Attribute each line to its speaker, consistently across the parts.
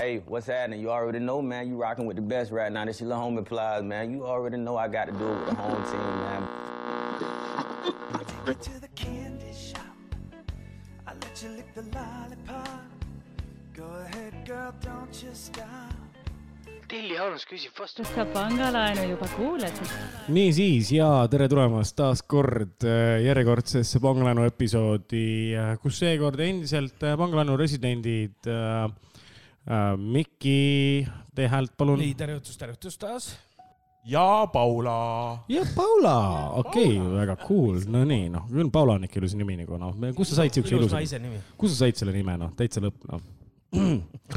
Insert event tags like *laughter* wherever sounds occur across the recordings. Speaker 1: Hey, what's happening? You already know, man. You rocking with the best right now. This your little home applies, man. You already know I got to do it with the home team, man.
Speaker 2: Take you to the candy shop. I let you lick the lollipop. Go ahead, girl, don't you stop.
Speaker 3: Tilli Harms küsib vastu .
Speaker 4: kas sa pangalaenu juba kuuled ?
Speaker 5: niisiis ja tere tulemast taas kord äh, järjekordsesse pangalaenu episoodi , kus seekord endiselt äh, pangalaenu residendid äh, äh, Miki , teie häält palun .
Speaker 6: nii , tere õhtust , tere õhtust taas .
Speaker 7: ja Paula .
Speaker 5: ja Paula , okei okay, , väga cool , no nii , noh , küll Paula on ikka ilus nimi nagu noh , kust sa said siukse
Speaker 6: ilus
Speaker 5: ilusa ,
Speaker 6: naise nimi ,
Speaker 5: kust sa said selle nime noh , täitsa lõpp noh .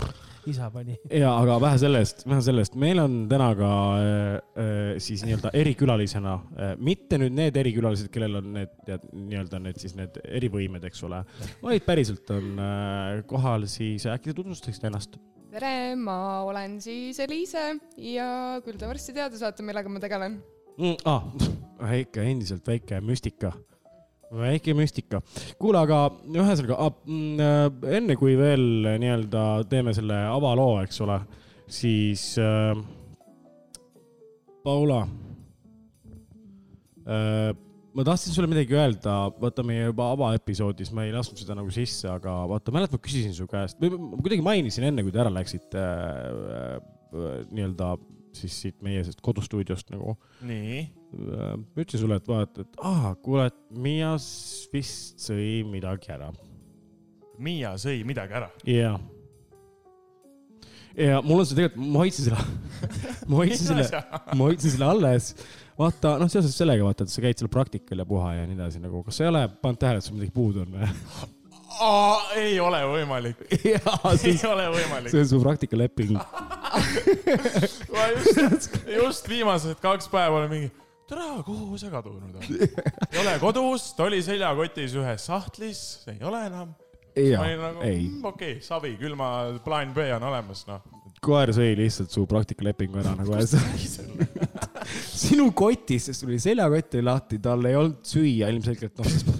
Speaker 6: *clears throat* isa pani .
Speaker 5: ja aga vähe sellest , vähe sellest , meil on täna ka äh, äh, siis nii-öelda erikülalisena äh, , mitte nüüd need erikülalised , kellel on need tead nii-öelda need siis need erivõimed , eks ole , vaid päriselt on äh, kohal , siis äkki te tutvustaksite ennast ?
Speaker 8: tere , ma olen siis Eliise ja küll te varsti teada saate , millega ma tegelen .
Speaker 5: mm, . Ah, *laughs* ikka endiselt väike müstika , väike müstika . kuule , aga ühesõnaga ah, , enne kui veel äh, nii-öelda teeme selle avaloo , eks ole , siis äh, Paula äh, ma tahtsin sulle midagi öelda , vaata meie juba avaepisoodis ma ei lasknud seda nagu sisse , aga vaata , mäletad , ma küsisin su käest või ma kuidagi mainisin enne , kui te ära läksite äh, äh, nii-öelda siis siit meie sellest kodustuudiost nagu
Speaker 7: nii .
Speaker 5: äh, ma ütlesin sulle , et vaata , et aa , kuule , et Miia s- vist sõi midagi ära .
Speaker 7: Miia sõi midagi ära .
Speaker 5: jaa . ja mul on see tegelikult , ma hoidsin selle , *laughs* ma hoidsin selle , ma hoidsin selle alles . vaata , noh , seoses sellega vaata , et sa käid seal praktikal ja puha ja nii edasi nagu , kas sa ei ole pannud tähele , et sul midagi puudu on või ? *laughs*
Speaker 7: ei ole *laughs* võimalik ,
Speaker 5: jaa ,
Speaker 7: ei
Speaker 5: see on ,
Speaker 7: ole võimalik
Speaker 5: see . on su
Speaker 7: *laughs*
Speaker 5: praktikaleping .
Speaker 7: ma just , just viimased kaks päeva olen mingi , tere , kuhu see kadunud on ? ei ole kodus , ta oli seljakotis ühes sahtlis , ei ole enam . ma
Speaker 5: jaa
Speaker 7: olin , nagu ,
Speaker 5: ei ,
Speaker 7: okei , savi , küll ma , plaan B on olemas , noh . *laughs*
Speaker 5: koer sõi lihtsalt su praktikalepingu ära nagu ja *laughs* sinu kotis , sest sul oli seljakott oli lahti , tal ei olnud süüa ilmselgelt , noh , sest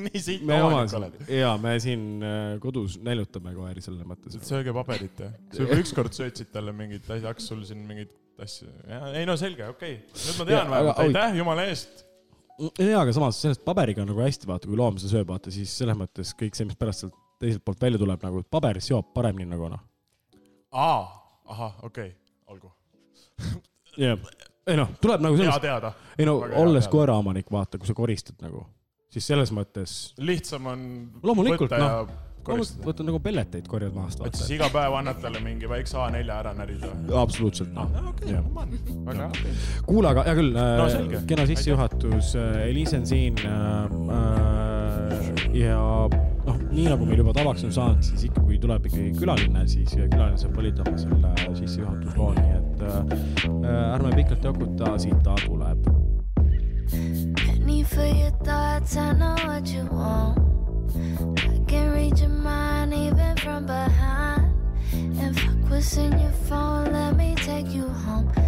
Speaker 7: nii siit
Speaker 5: me
Speaker 7: omanik
Speaker 5: omasime
Speaker 7: oled .
Speaker 5: ja me siin äh, kodus näljutame koeri selles mõttes .
Speaker 7: sööge paberit , jah . sa juba ükskord söötsid talle mingit asja , hakkas sul siin mingit asja , ei no selge , okei okay. . nüüd ma
Speaker 5: Ja,
Speaker 7: tean vähemalt ,
Speaker 5: aga-
Speaker 7: aitäh jumala eest .
Speaker 5: ja , aga samas sellest paberiga on nagu hästi , vaata , kui loom seda sööb , vaata siis selles mõttes kõik see , mis pärast sealt teiselt poolt välja tuleb nagu paber seob paremini nagu noh .
Speaker 7: aa , ahah , okei okay. , olgu .
Speaker 5: jah , ei noh , tuleb nagu
Speaker 7: hea
Speaker 5: sellest ,
Speaker 7: teada .
Speaker 5: ei no
Speaker 7: väga hea
Speaker 5: olles
Speaker 7: teada.
Speaker 5: koeraomanik , vaata , kui sa koristad nagu , siis selles mõttes
Speaker 7: lihtsam on .
Speaker 5: Loomulikult, noh.
Speaker 7: ja
Speaker 5: loomulikult
Speaker 7: koristada .
Speaker 5: vaata nagu pelleteid korjad maast ,
Speaker 7: et
Speaker 5: vaata
Speaker 7: siis . iga päev annad talle mingi väikse A4 ära närida .
Speaker 5: absoluutselt noh , jah
Speaker 7: väga hea .
Speaker 5: kuule , aga hea küll
Speaker 7: No
Speaker 5: äh,
Speaker 7: selge. ,
Speaker 5: kena sissejuhatus , Eliis on siin äh, . Äh, ja noh , nii nagu meil juba tavaks on saanud , siis ikka , kui tuleb ikkagi külaline , siis äh, külaline saab valida oma selle sissejuhatusloo , nii et äh, äh, ärme pikalt jokuta , siit ta tuleb .
Speaker 9: Penny for your thoughts, I know what you want. I can read your mind even from behind. And fuck what's in your phone, let me take you home. I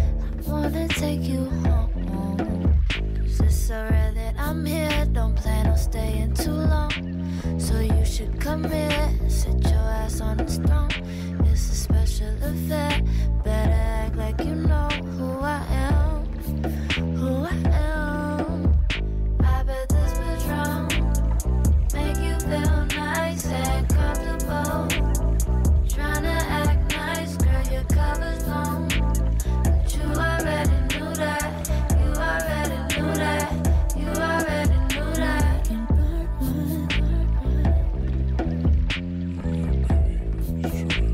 Speaker 9: wanna take you home. Cause it's so rare that I'm here, don't plan on staying too long. So you should come here, sit your ass on this throne. It's a special affair, better act like you know who I am. Who I am. I bet this Patron make you feel nice and comfortable. Tryna act nice, girl, your cover's long, but you already knew that. You already knew that. You already knew that. You burnt one, burnt one.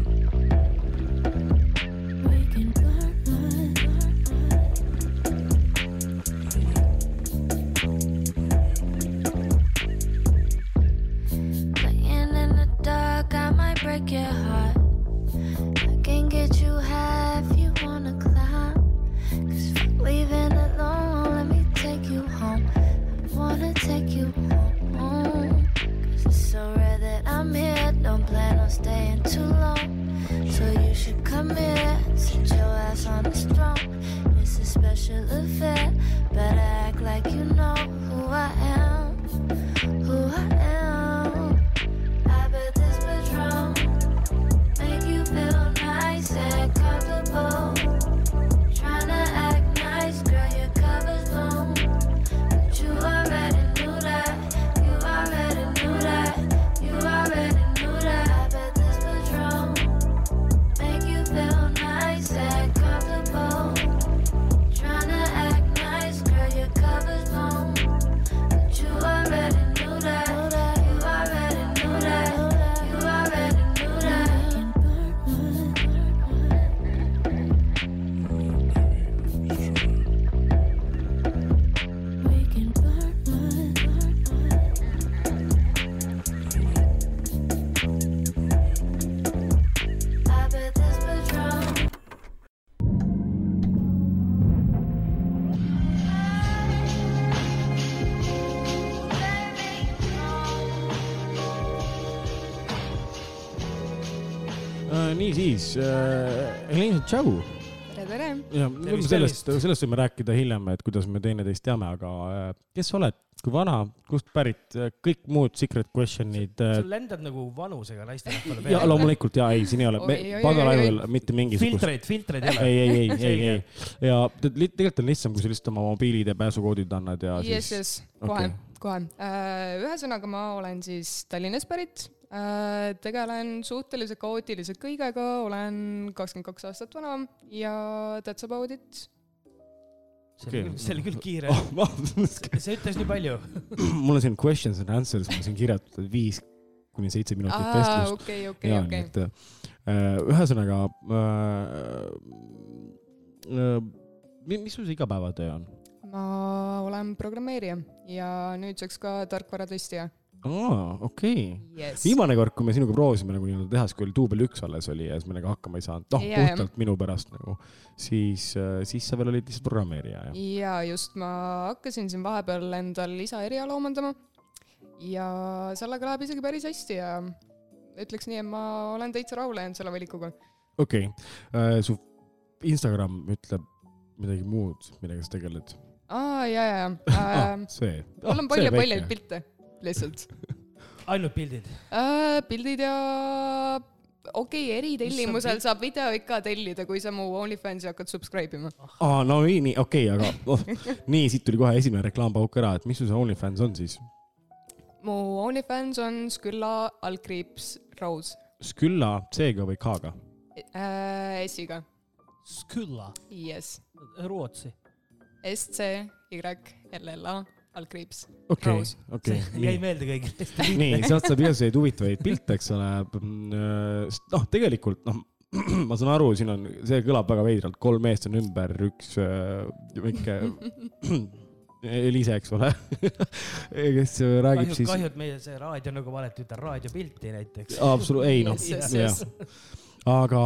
Speaker 9: fair. Better act like you know who I am. Who I am. I bet this Patron make you feel nice and comfortable. Tryna act nice, girl, your cover's blown. But you already knew that. You already knew that. You already knew that. I bet this Patron make you feel nice and comfortable. Tryna act nice, girl, your cover's blown. But you already knew that. You already knew that. You already knew that. I bet this Patron
Speaker 5: niisiis äh, , Helen Tšau .
Speaker 8: tere , tere .
Speaker 6: Tervist,
Speaker 5: sellest ,
Speaker 6: tervist.
Speaker 5: sellest võime rääkida hiljem , et kuidas me teineteist teame , aga äh, kes sa oled , kui vana , kust pärit , kõik muud secret question'id äh,
Speaker 6: sa lendad nagu vanusega naisterahvale
Speaker 5: ja
Speaker 6: peale .
Speaker 5: loomulikult ja ei , siin ei ole
Speaker 8: Oi, , oi, oi,
Speaker 5: pagalaenu
Speaker 8: oi.
Speaker 5: ei ole mitte mingisugust .
Speaker 6: filtreid , filtreid ei ole .
Speaker 5: ei , ei , ei , ei , ei ja te- li- tegelikult on lihtsam , kui sa lihtsalt oma mobiilid ja pääsukoodid annad ja
Speaker 8: jess ,
Speaker 5: siis .
Speaker 8: jess , kohe
Speaker 5: okei. ,
Speaker 8: kohe . ühesõnaga , ma olen siis Tallinnast pärit . tegelen suhteliselt kaootiliselt kõigega , olen kakskümmend kaks aastat vana ja that's about it .
Speaker 6: see oli
Speaker 5: Okei.
Speaker 6: küll , see oli küll kiire .
Speaker 5: Oh, ma- *clears throat*
Speaker 6: see ütles nii palju .
Speaker 5: mul on siin questions and answers , mul on siin kirjutatud viis kuni seitse minutit vestlust .
Speaker 8: okei , okei ,
Speaker 5: ja nii
Speaker 8: okei .
Speaker 5: et äh, ühesõnaga äh, äh, mi- mis sul see igapäevatöö on ?
Speaker 8: ma olen programmeerija ja nüüdseks ka tarkvaratestija .
Speaker 5: aa , okei
Speaker 8: Yes.
Speaker 5: viimane kord , kui me sinuga proovisime nagu nii-öelda tehas , kui oli duubel üks alles oli ja siis me nagu hakkama ei saanud , noh
Speaker 8: Jajah.
Speaker 5: puhtalt minu pärast nagu , siis , siis sa veel olid lihtsalt programmeerija ja .
Speaker 8: ja just , ma hakkasin siin vahepeal endal lisaeriala omandama ja sellega läheb isegi päris hästi ja ütleks nii , et ma olen täitsa rahule jäänud selle valikuga .
Speaker 5: okei okay. , su Instagram ütleb midagi muud , millega sa tegeled .
Speaker 8: aa , ja , ja , ja .
Speaker 5: Ah, see .
Speaker 8: Äh, mul on palju paljaid . pilte , lihtsalt
Speaker 6: ainult pildid .
Speaker 8: äh, . pildid ja okei okay, , eritellimusel
Speaker 6: pilt?
Speaker 8: saab video ikka tellida , kui sa mu OnlyFansi hakkad subscribe ima .
Speaker 5: aa , Ah, no nii , nii , okei okay, ,
Speaker 8: *laughs*
Speaker 5: aga oh, nii , siit tuli kohe esimene reklaampauk ära , et mis sul see OnlyFans on siis ?
Speaker 8: mu OnlyFans on Skylla allkriips Rose
Speaker 5: Skylla C-ga või K-ga ?
Speaker 8: äh, , S-iga ,
Speaker 6: Skylla ,
Speaker 8: yes .
Speaker 6: Rootsi .
Speaker 8: S C Y L L A allkriips .
Speaker 5: okei ,
Speaker 8: Rose.
Speaker 5: okei
Speaker 6: see . jäi meelde kõigile .
Speaker 5: nii , sealt saab igasuguseid huvitavaid pilte , eks ole . noh , tegelikult noh , *clears throat* ma saan aru , siin on , see kõlab väga veidralt , kolm meest on ümber , üks äh, väike *clears throat* Eliise , eks ole , *laughs* kes räägib
Speaker 6: kahju ,
Speaker 5: siis .
Speaker 6: kahju , et meie see raadio nagu valeti , ütleb raadiopilti näiteks .
Speaker 5: absoluut , ei noh ,
Speaker 8: Yes,
Speaker 5: jah
Speaker 8: yes, .
Speaker 5: aga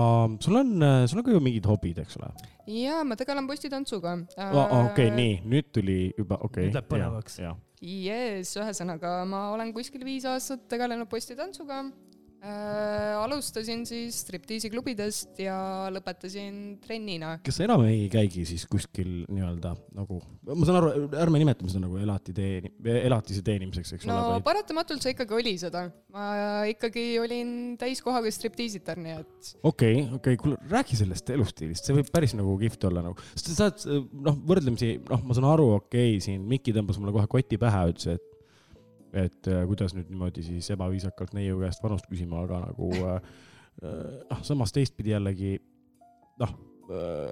Speaker 5: sul on , sul on ka ju mingid hobid , eks ole ?
Speaker 8: ja ma tegelen postitantsuga . Äh,
Speaker 5: okei , nii , nüüd tuli juba , okei .
Speaker 6: Äh. Nüüd läheb põnevaks.
Speaker 5: jah ,
Speaker 8: Jess , ühesõnaga ma olen kuskil viis aastat tegelenud postitantsuga äh, . alustasin siis striptiisi klubidest ja lõpetasin trennina .
Speaker 5: kas sa enam ei käigi siis kuskil nii-öelda nagu , ma saan aru , ärme nimetame seda nagu elati teeni- , elatise teenimiseks , eks
Speaker 8: no
Speaker 5: ole , vaid
Speaker 8: paratamatult see ikkagi oli seda . ma ikkagi olin täiskohaga striptiisitar , nii et
Speaker 5: okei okay, , okei okay, , kuule räägi sellest elustiilist , see võib päris nagu kihvt olla nagu , sest sa saad äh, noh , võrdlemisi noh , ma saan aru , okei okay, , siin Mikki tõmbas mulle kohe koti pähe , ütles , et et äh, kuidas nüüd niimoodi siis ebaviisakalt neiu käest vanust küsima , aga nagu äh, äh, noh , samas teistpidi jällegi noh ,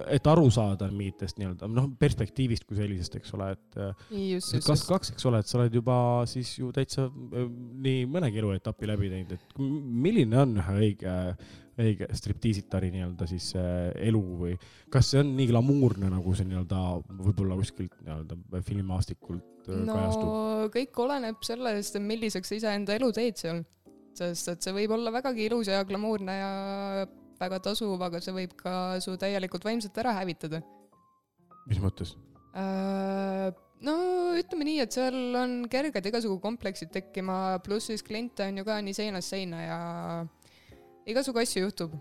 Speaker 5: et aru saada mingitest nii-öelda noh , perspektiivist kui sellisest , eks ole , et äh,
Speaker 8: just , just ,
Speaker 5: nüüd
Speaker 8: just .
Speaker 5: kakskümmend kaks , eks ole , et sa oled juba siis ju täitsa äh, nii mõnegi eluetapi läbi teinud , et m- milline on ühe õige , õige striptiisitari nii-öelda siis äh, elu või kas see on nii glamuurne , nagu see nii-öelda võib-olla kuskilt nii-öelda filmaastikult äh,
Speaker 8: no
Speaker 5: kajastub ?
Speaker 8: kõik oleneb sellest , et milliseks sa iseenda elu teed seal . sest et see võib olla vägagi ilus ja glamuurne ja väga tasuv , aga see võib ka su täielikult vaimselt ära hävitada .
Speaker 5: mis mõttes ?
Speaker 8: Äh, no ütleme nii , et seal on kerged igasugu kompleksid tekkima , pluss siis kliente on ju ka nii seinast seina ja igasugu asju juhtub .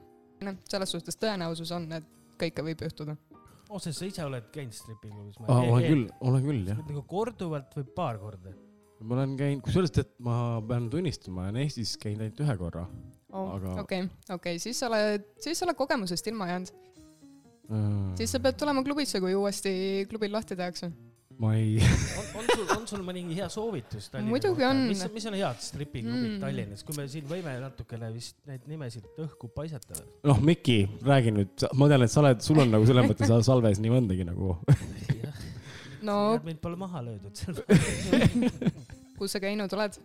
Speaker 8: noh , selles suhtes tõenäosus on , et kõike võib juhtuda .
Speaker 6: otseselt Oh, sa ise oled käinud stripiklubis ?
Speaker 5: olen küll , olen küll jah .
Speaker 6: nagu korduvalt või paar korda ?
Speaker 5: ma olen käinud , kusjuures tead , ma pean tunnistama , olen Eestis käinud ainult ühe korra . Aga-
Speaker 8: okei , okei , siis sa oled , siis sa oled kogemusest ilma jäänud . siis sa pead tulema klubisse , kui uuesti klubid lahti tehakse .
Speaker 5: Äh, ma ei , *laughs*
Speaker 6: on , on sul , on sul mõni hea soovitus Tallinna
Speaker 8: Muidugi
Speaker 6: kohta?
Speaker 8: on.
Speaker 6: mis , mis on head stripiklubid
Speaker 8: Mm.
Speaker 6: mm. Tallinnas , kui me siin võime natukene vist neid nimesid õhku paisata või ?
Speaker 5: noh , Miki , räägi nüüd , ma tean , et sa oled , sul on nagu selles mõttes sa- salves nii mõndagi nagu . *laughs*
Speaker 8: no
Speaker 6: mind pole maha löödud *laughs* seal .
Speaker 8: kus sa käinud oled ?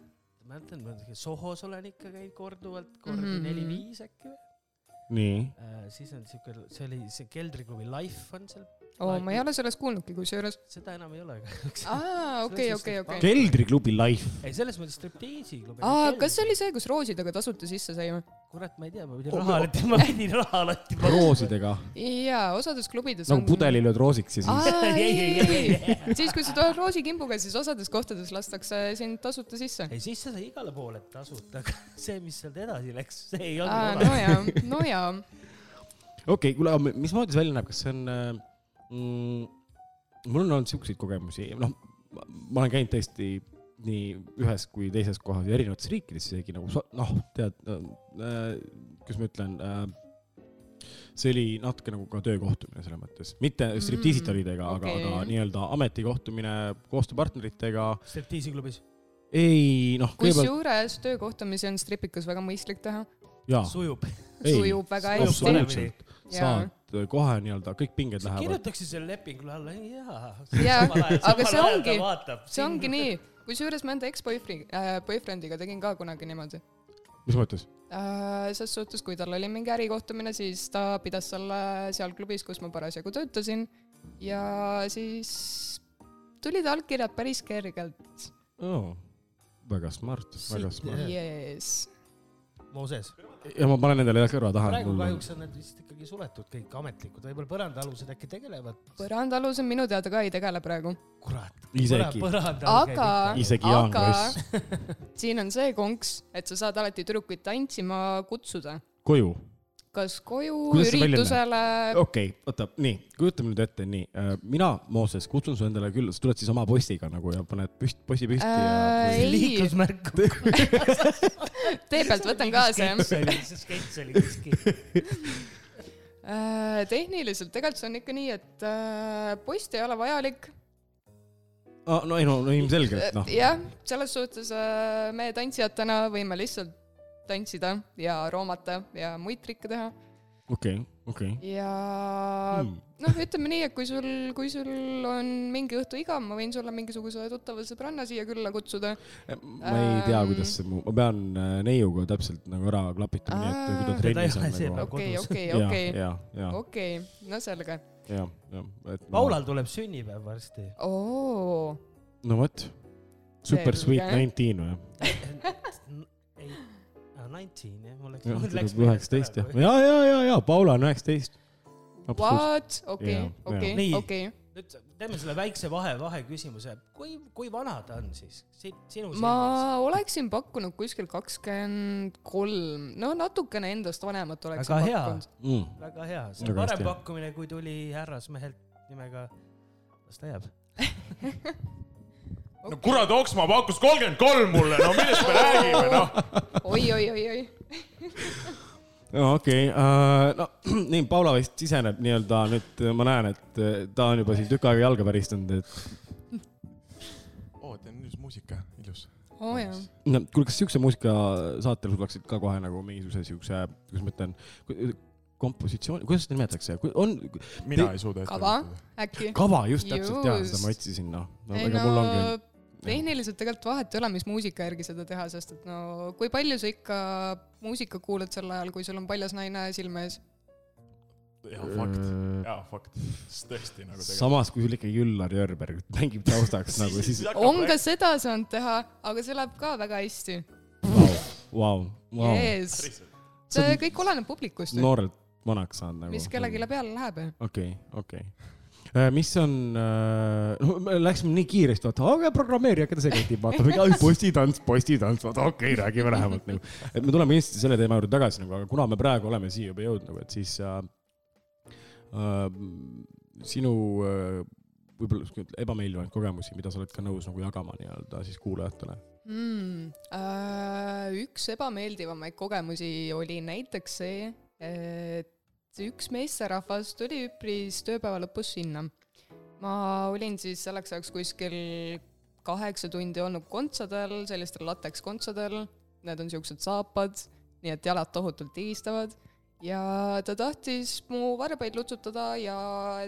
Speaker 6: mäletan , ma Sohos olen ikka käinud korduvalt , kordi mm
Speaker 8: Mhm.
Speaker 6: -hmm. neli-viis äkki või
Speaker 5: nii ,
Speaker 6: äh, ? siis on siuke , see oli see keldriklubi Life on seal ,
Speaker 8: oo , Oh, ma ei ole sellest kuulnudki kusjuures .
Speaker 6: seda enam ei ole *laughs* kahjuks .
Speaker 8: aa , okei , okei , okei .
Speaker 5: keldriklubi live .
Speaker 6: ei , selles mõttes striptiisiklubi .
Speaker 8: aa , kas see oli see , kus roosidega tasuta sisse saime ?
Speaker 6: kurat , ma ei tea , ma pidin
Speaker 5: Oh,
Speaker 6: raha
Speaker 5: oh.
Speaker 6: alati , ma pidin raha
Speaker 8: *laughs*
Speaker 6: alati .
Speaker 5: roosidega ,
Speaker 8: jaa , osades klubides
Speaker 5: nagu pudeli lööd roosiks ja siis .
Speaker 8: aa , *laughs* ei ,
Speaker 6: Ei, ei,
Speaker 8: ei , ei . siis , kui sa tuled roosikimbuga , siis osades kohtades lastakse sind tasuta sisse .
Speaker 6: ei , sisse sai igale poole tasuta , aga *laughs* see , mis sealt edasi läks , see ei
Speaker 8: aa ,
Speaker 6: olnud odav .
Speaker 8: nojaa , nojaa .
Speaker 5: okei , kuule , aga mismoodi see välja näeb , kas see on äh, mm, , mul on olnud siukseid kogemusi , noh , ma olen käinud tõesti nii ühes kui teises kohas ja erinevates riikides isegi nagu so- noh , tead äh, , kuidas ma ütlen äh, , see oli natuke nagu ka töökohtumine selles mõttes , mitte striptiisitalidega mm, ,
Speaker 8: okei.
Speaker 5: okay. aga , aga nii-öelda ametikohtumine koostööpartneritega .
Speaker 6: striptiisiklubis
Speaker 5: ei noh , kõigepealt
Speaker 8: kusjuures töökohtumisi on stripikas väga mõistlik teha .
Speaker 5: jaa ,
Speaker 8: Ah.
Speaker 6: sujub . *laughs*
Speaker 5: ei ,
Speaker 8: sujub väga
Speaker 6: sujub
Speaker 8: hästi .
Speaker 6: paremini.
Speaker 5: absoluutselt , saad äh, kohe nii-öelda kõik pinged lähevad .
Speaker 6: kirjutakse selle lepingule alla , jaa . *laughs*
Speaker 8: Jaa, aga see ongi-
Speaker 6: vaatab,
Speaker 8: see ongi . nii , kusjuures ma enda ex-boyfriend äh, , boyfriend'iga tegin ka kunagi niimoodi
Speaker 5: mis mõttes ?
Speaker 8: äh, . ses suhtes , kui tal oli mingi ärikohtumine , siis ta pidas selle seal klubis , kus ma parasjagu töötasin ja siis tulid allkirjad päris kergelt .
Speaker 5: oh, . väga smart , väga
Speaker 6: Siit-
Speaker 5: smart .
Speaker 8: jess .
Speaker 6: Mooses ,
Speaker 5: ja ma panen endale jah kõrva taha .
Speaker 6: praegu kahjuks on need vist ikkagi suletud kõik ametlikud , võib-olla põrandaalused äkki tegelevad .
Speaker 8: põrandaalus on minu teada ka ei tegele praegu .
Speaker 6: kurat .
Speaker 5: Isegi.
Speaker 8: aga
Speaker 6: aga ,,
Speaker 5: Isegi Jaan
Speaker 8: aga
Speaker 5: Kross.
Speaker 8: siin on see konks , et sa saad alati tüdrukuid tantsima kutsuda .
Speaker 5: koju .
Speaker 8: kas koju ,
Speaker 5: Kuidas see välja näeb?
Speaker 8: üritusele ,
Speaker 5: okei okay, , oota , nii , kujutame nüüd ette , nii . mina , Mooses , kutsun su endale külla , sa tuled siis oma postiga nagu ja paned püst- , posti
Speaker 8: Äh,
Speaker 5: püsti ja .
Speaker 8: ei.
Speaker 6: liiklusmärk .
Speaker 8: tee pealt võtan kaasa , jah .
Speaker 6: see sketš oli kuskil .
Speaker 8: Äh, tehniliselt tegelikult see on ikka nii , et äh, post ei ole vajalik .
Speaker 5: Ah, no ei no , no ilmselgelt
Speaker 6: äh,
Speaker 5: noh .
Speaker 8: jah , selles suhtes äh, me tantsijatena võime lihtsalt tantsida ja roomata ja muid trikke teha
Speaker 5: okei , okei .
Speaker 8: ja
Speaker 5: Hmm.
Speaker 8: mm. noh , ütleme nii , et kui sul , kui sul on mingi õhtu igav , ma võin sulle mingisuguse tuttava sõbranna siia külla kutsuda .
Speaker 5: ma ei tea , kuidas see mu , ma pean äh, neiuga täpselt nagu ära klapitama , nii et kui ta
Speaker 8: Aa.
Speaker 5: trennis on
Speaker 6: Teda ei ole
Speaker 5: nagu . *laughs*
Speaker 8: okei ,
Speaker 6: kodus.
Speaker 8: okei ,
Speaker 5: ja ,
Speaker 8: okei ,
Speaker 5: ja , ja ,
Speaker 8: okei , no selge .
Speaker 5: ja , ja .
Speaker 6: Paulal tuleb sünnipäev varsti .
Speaker 8: oo ,
Speaker 5: no vot . Super
Speaker 8: Selge.
Speaker 5: Sweet Nineteen või ?
Speaker 6: ei , nineteen jah , mul läks .
Speaker 5: üheksateist jah , ja , ja , ja , ja Paula on üheksateist .
Speaker 8: what , okei
Speaker 5: Jaa, ,
Speaker 8: okei
Speaker 6: nii. ,
Speaker 8: okei .
Speaker 6: nüüd teeme selle väikse vahe , vaheküsimuse , kui , kui vana ta on siis ? sinu silmis .
Speaker 8: ma oleksin pakkunud kuskil kakskümmend kolm , no natukene endast vanemat oleksin
Speaker 6: Väga hea.
Speaker 8: pakkunud .
Speaker 5: mm. .
Speaker 6: väga hea , see on
Speaker 5: Väga hästi,
Speaker 6: parem
Speaker 5: jah.
Speaker 6: pakkumine , kui tuli härrasmehelt nimega , las ta jääb .
Speaker 7: no kurat , Oksmaa pakkus kolmkümmend kolm mulle , no millest me räägime ,
Speaker 5: *laughs*
Speaker 7: noh .
Speaker 8: oi , oi , oi , oi .
Speaker 5: no okei okay. , no *clears throat* nii , Paula vist siseneb nii-öelda nüüd , ma näen , et äh, ta on juba siin tükk aega jalga päristanud , et
Speaker 7: oo , teen ilus muusika , ilus .
Speaker 8: oo jaa .
Speaker 5: no kuule , kas siukse muusikasaatel sul läksid ka kohe nagu mingisuguse siukse , kuidas ma ütlen , kompositsiooni , kuidas seda nimetatakse , on
Speaker 7: mina
Speaker 5: Te-
Speaker 7: ei suuda ette
Speaker 8: kava
Speaker 7: kujutada.
Speaker 8: äkki ?
Speaker 5: kava just täpselt jah , seda ma
Speaker 8: Just.
Speaker 5: otsisin noh , no ega mul ongi ,
Speaker 8: tehniliselt tegelikult vahet ei ole , mis muusika järgi seda teha , sest et no kui palju sa ikka muusika kuulad sel ajal , kui sul on paljas naine silme ees ?
Speaker 7: jaa , fakt ,
Speaker 5: Äh,
Speaker 7: jaa , fakt . siis tõesti nagu tegelikult .
Speaker 5: samas kui sul ikkagi Üllar Jörberg mängib taustaks nagu siis ,
Speaker 8: on ka seda saanud teha , aga see läheb ka väga hästi .
Speaker 5: vau , vau ,
Speaker 8: Jees . see kõik oleneb publikust ,
Speaker 5: noorelt vanaks saanud nagu .
Speaker 8: mis kellelegi peale läheb .
Speaker 5: okei , okei . mis on , no me läksime nii kiiresti , vaata , aga programmeeri hakata see käib , vaata ,
Speaker 8: *laughs*
Speaker 5: postitants , postitants , vaata , okei okay, , räägime lähemalt nagu . et me tuleme kindlasti selle teema juurde tagasi nagu , aga kuna me praegu oleme siia juba jõudnud nagu , et siis äh, äh, sinu äh, võib-olla sihuke ebameeldivaid kogemusi , mida sa oled ka nõus nagu jagama nii-öelda siis kuulajatele ?
Speaker 8: mm, . Äh, üks ebameeldivamaid kogemusi oli näiteks see , et üks meesterahvas tuli üpris tööpäeva lõpus sinna . ma olin siis selleks ajaks kuskil kaheksa tundi olnud kontsadel , sellistel lateks kontsadel , need on siuksed saapad , nii et jalad tohutult tiistavad ja ta tahtis mu varbaid lutsutada ja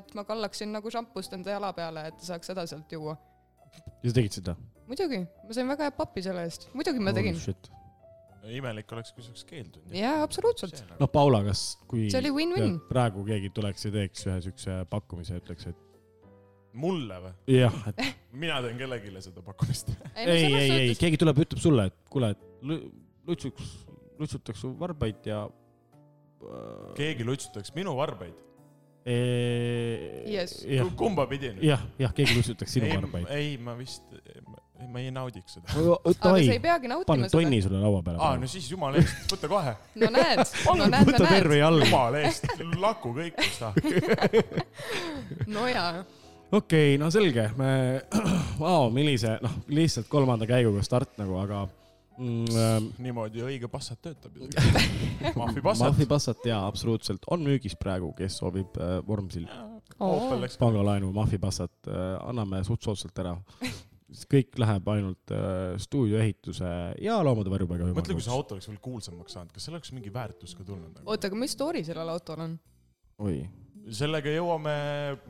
Speaker 8: et ma kallaksin nagu šampust enda jala peale , et ta saaks edasiselt juua .
Speaker 5: ja sa tegid seda ?
Speaker 8: muidugi , ma sain väga head pappi selle eest , muidugi ma tegin .
Speaker 7: imelik oleks , kui sa oleks keeldunud .
Speaker 8: jaa , absoluutselt .
Speaker 7: nagu
Speaker 5: noh , Paula , kas , kui
Speaker 8: See oli win-win.
Speaker 5: praegu keegi tuleks ja teeks ühe siukse pakkumise , ütleks , et
Speaker 7: mulle või ?
Speaker 5: jah , et
Speaker 7: mina teen kellelegi seda
Speaker 5: *laughs*
Speaker 7: pakkumist .
Speaker 5: ei , ei , ei ,. keegi tuleb ja ütleb sulle , et kuule , et lu- lutsuks , lutsutaks su varbaid ja äh, .
Speaker 7: keegi lutsutaks minu varbaid .
Speaker 8: Yes.
Speaker 5: e-, jah ,
Speaker 7: kumba pidi nüüd ?
Speaker 5: jah , jah , keegi lutsutaks sinu varbaid .
Speaker 7: ei , ma vist , ma ei naudiks seda .
Speaker 5: oota ,
Speaker 8: aga sa ei
Speaker 5: ei ,
Speaker 8: peagi nautima
Speaker 5: pane
Speaker 8: seda .
Speaker 5: tonni sulle laua peale
Speaker 7: aa ,. no siis jumala eest , võta
Speaker 5: *laughs*
Speaker 7: kohe ,
Speaker 8: no näed , no näed , no
Speaker 5: võta
Speaker 8: näed .
Speaker 5: terve jalg .
Speaker 7: jumala eest , laku kõik , mis tahad .
Speaker 8: no jaa ,
Speaker 5: okei okay, , no selge , me , *clears throat* vau , millise , noh , lihtsalt kolmanda käiguga start nagu , aga mm, ähm,
Speaker 7: niimoodi õige passat töötab ju tegelikult . mahvi passat .
Speaker 5: Mahvi Passat jaa , absoluutselt , on müügis praegu , kes soovib äh, Vormsil
Speaker 7: Opel läks .
Speaker 5: pangalaenu Mahvi Passat äh, , anname suht soodsalt ära . kõik läheb ainult äh, stuudioehituse ja loomade varjupaiga
Speaker 7: mõtle , kui see
Speaker 5: hüvanguks .
Speaker 7: auto oleks veel kuulsamaks saanud , kas seal oleks mingi väärtus ka tulnud nagu ?
Speaker 8: oota , aga mis story sellel autol on ?
Speaker 5: oi ,
Speaker 7: sellega jõuame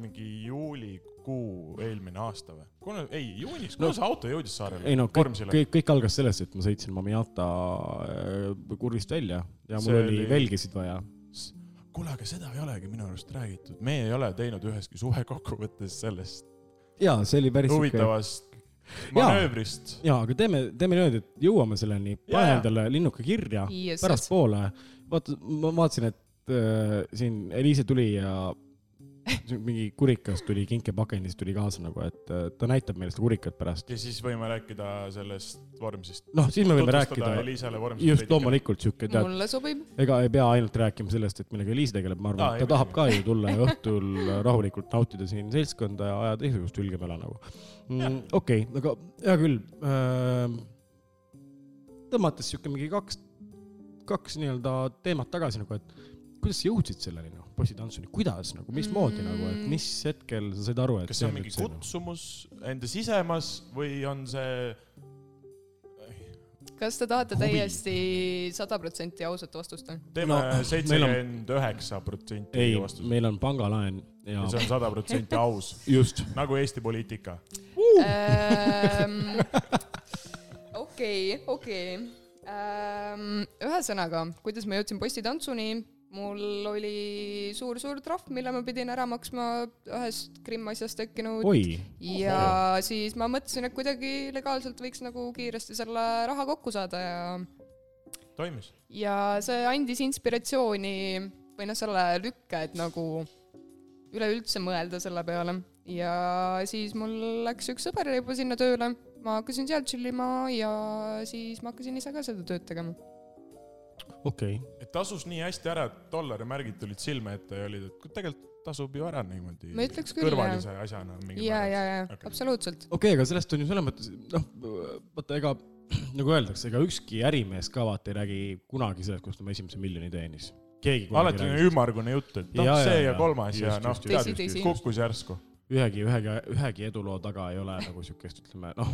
Speaker 7: mingi juulikuu eelmine aasta või ? kuna , ei , juunis ,
Speaker 5: No-
Speaker 7: kuna see auto jõudis saarele ?
Speaker 5: ei no kõik ,
Speaker 7: Vormsile .
Speaker 5: kõik , kõik algas sellest , et ma sõitsin Mamiata äh, kurvist välja ja mul
Speaker 7: See
Speaker 5: oli
Speaker 7: oli-
Speaker 5: velgesid vaja .
Speaker 7: kuule , aga seda ei olegi minu arust räägitud , me ei ole teinud üheski suve kokkuvõttes sellest
Speaker 5: jaa , see oli päris sihuke-
Speaker 7: huvitavast manöövrist .
Speaker 5: jaa , aga teeme , teeme niimoodi , et jõuame selleni ,
Speaker 7: Jaa.
Speaker 5: pane endale linnuke kirja
Speaker 8: ISS.
Speaker 5: pärastpoole . vaata , ma vaatasin , et äh, siin Eliise tuli ja *laughs* siin mingi kurikas tuli kinkepakendis tuli kaasa nagu , et äh, ta näitab meile seda kurikat pärast .
Speaker 7: ja siis võime rääkida sellest Vormsist .
Speaker 5: noh , siis me võime
Speaker 7: tutvustada
Speaker 5: rääkida ,
Speaker 7: Eliisale Vormsi .
Speaker 5: just loomulikult sihuke , tead ,
Speaker 8: mulle sobib .
Speaker 5: ega ei pea ainult rääkima sellest , et millega Eliis tegeleb , ma arvan
Speaker 7: Aa, ,
Speaker 5: et
Speaker 7: ei
Speaker 5: ta tahab ka ju tulla ja õhtul rahulikult nautida siin seltskonda ja ajada igasugust hülgemela nagu mm, . okei okay, , aga hea küll äh, . tõmmates sihuke mingi kaks , kaks nii-öelda teemat tagasi nagu , et kuidas sa jõudsid selleni noh , bossitantsuni , kuidas nagu , mismoodi mm. nagu , et mis hetkel sa said aru , et
Speaker 7: kas see on
Speaker 5: nüüd noh.
Speaker 7: mingi kutsumus enda sisemas või on see ,
Speaker 8: kas te tahate
Speaker 7: Huvi.
Speaker 8: täiesti sada protsenti ausat vastust ?
Speaker 7: teeme
Speaker 5: No, meil on-
Speaker 7: seitsekümmend üheksa protsenti
Speaker 5: noh, ei
Speaker 7: õige vastus .
Speaker 5: meil on pangalaen ja,
Speaker 7: ja see
Speaker 5: ja
Speaker 7: on sada protsenti aus ,
Speaker 5: just ,
Speaker 7: nagu Eesti poliitika .
Speaker 8: Ehm,
Speaker 5: *laughs*
Speaker 8: okei , okei . ühesõnaga , kuidas ma jõudsin postitantsuni , mul oli suur-suur trahv , mille ma pidin ära maksma ühest krimmasjast tekkinud
Speaker 5: oi ,
Speaker 8: ja siis ma mõtlesin , et kuidagi legaalselt võiks nagu kiiresti selle raha kokku saada ja ,
Speaker 7: toimis ?
Speaker 8: ja see andis inspiratsiooni või noh , selle lükke , et nagu üleüldse mõelda selle peale . ja siis mul läks üks sõber juba sinna tööle , ma hakkasin seal tšillima ja siis ma hakkasin ise ka seda tööd tegema .
Speaker 5: okei okay. ,
Speaker 7: et tasus nii hästi ära , et dollarimärgid tulid silme ette ja olid , et tegelikult tasub ju ära niimoodi .
Speaker 8: Ma ütleks küll,
Speaker 7: kõrvalise asjana .
Speaker 8: ja , ja , ja
Speaker 7: Okei.
Speaker 8: absoluutselt .
Speaker 5: okei okay, , aga sellest on ju selles mõttes , noh , vaata ega nagu öeldakse , ega ükski ärimees ka vaata ei räägi kunagi sellest , kust ta oma esimese miljoni teenis . keegi
Speaker 7: alati
Speaker 5: kunagi
Speaker 7: on
Speaker 5: ei
Speaker 7: ju
Speaker 5: räägi .
Speaker 7: ümmargune jutt , et noh
Speaker 5: Ja, , ja,
Speaker 7: see
Speaker 5: ja.
Speaker 7: ja kolmas ja
Speaker 5: Just,
Speaker 7: noh ,
Speaker 5: just,
Speaker 8: just,
Speaker 7: tead
Speaker 8: just, , just.
Speaker 7: kukkus järsku .
Speaker 5: ühegi , ühegi , ühegi eduloo taga ei ole nagu siukest , ütleme noh ,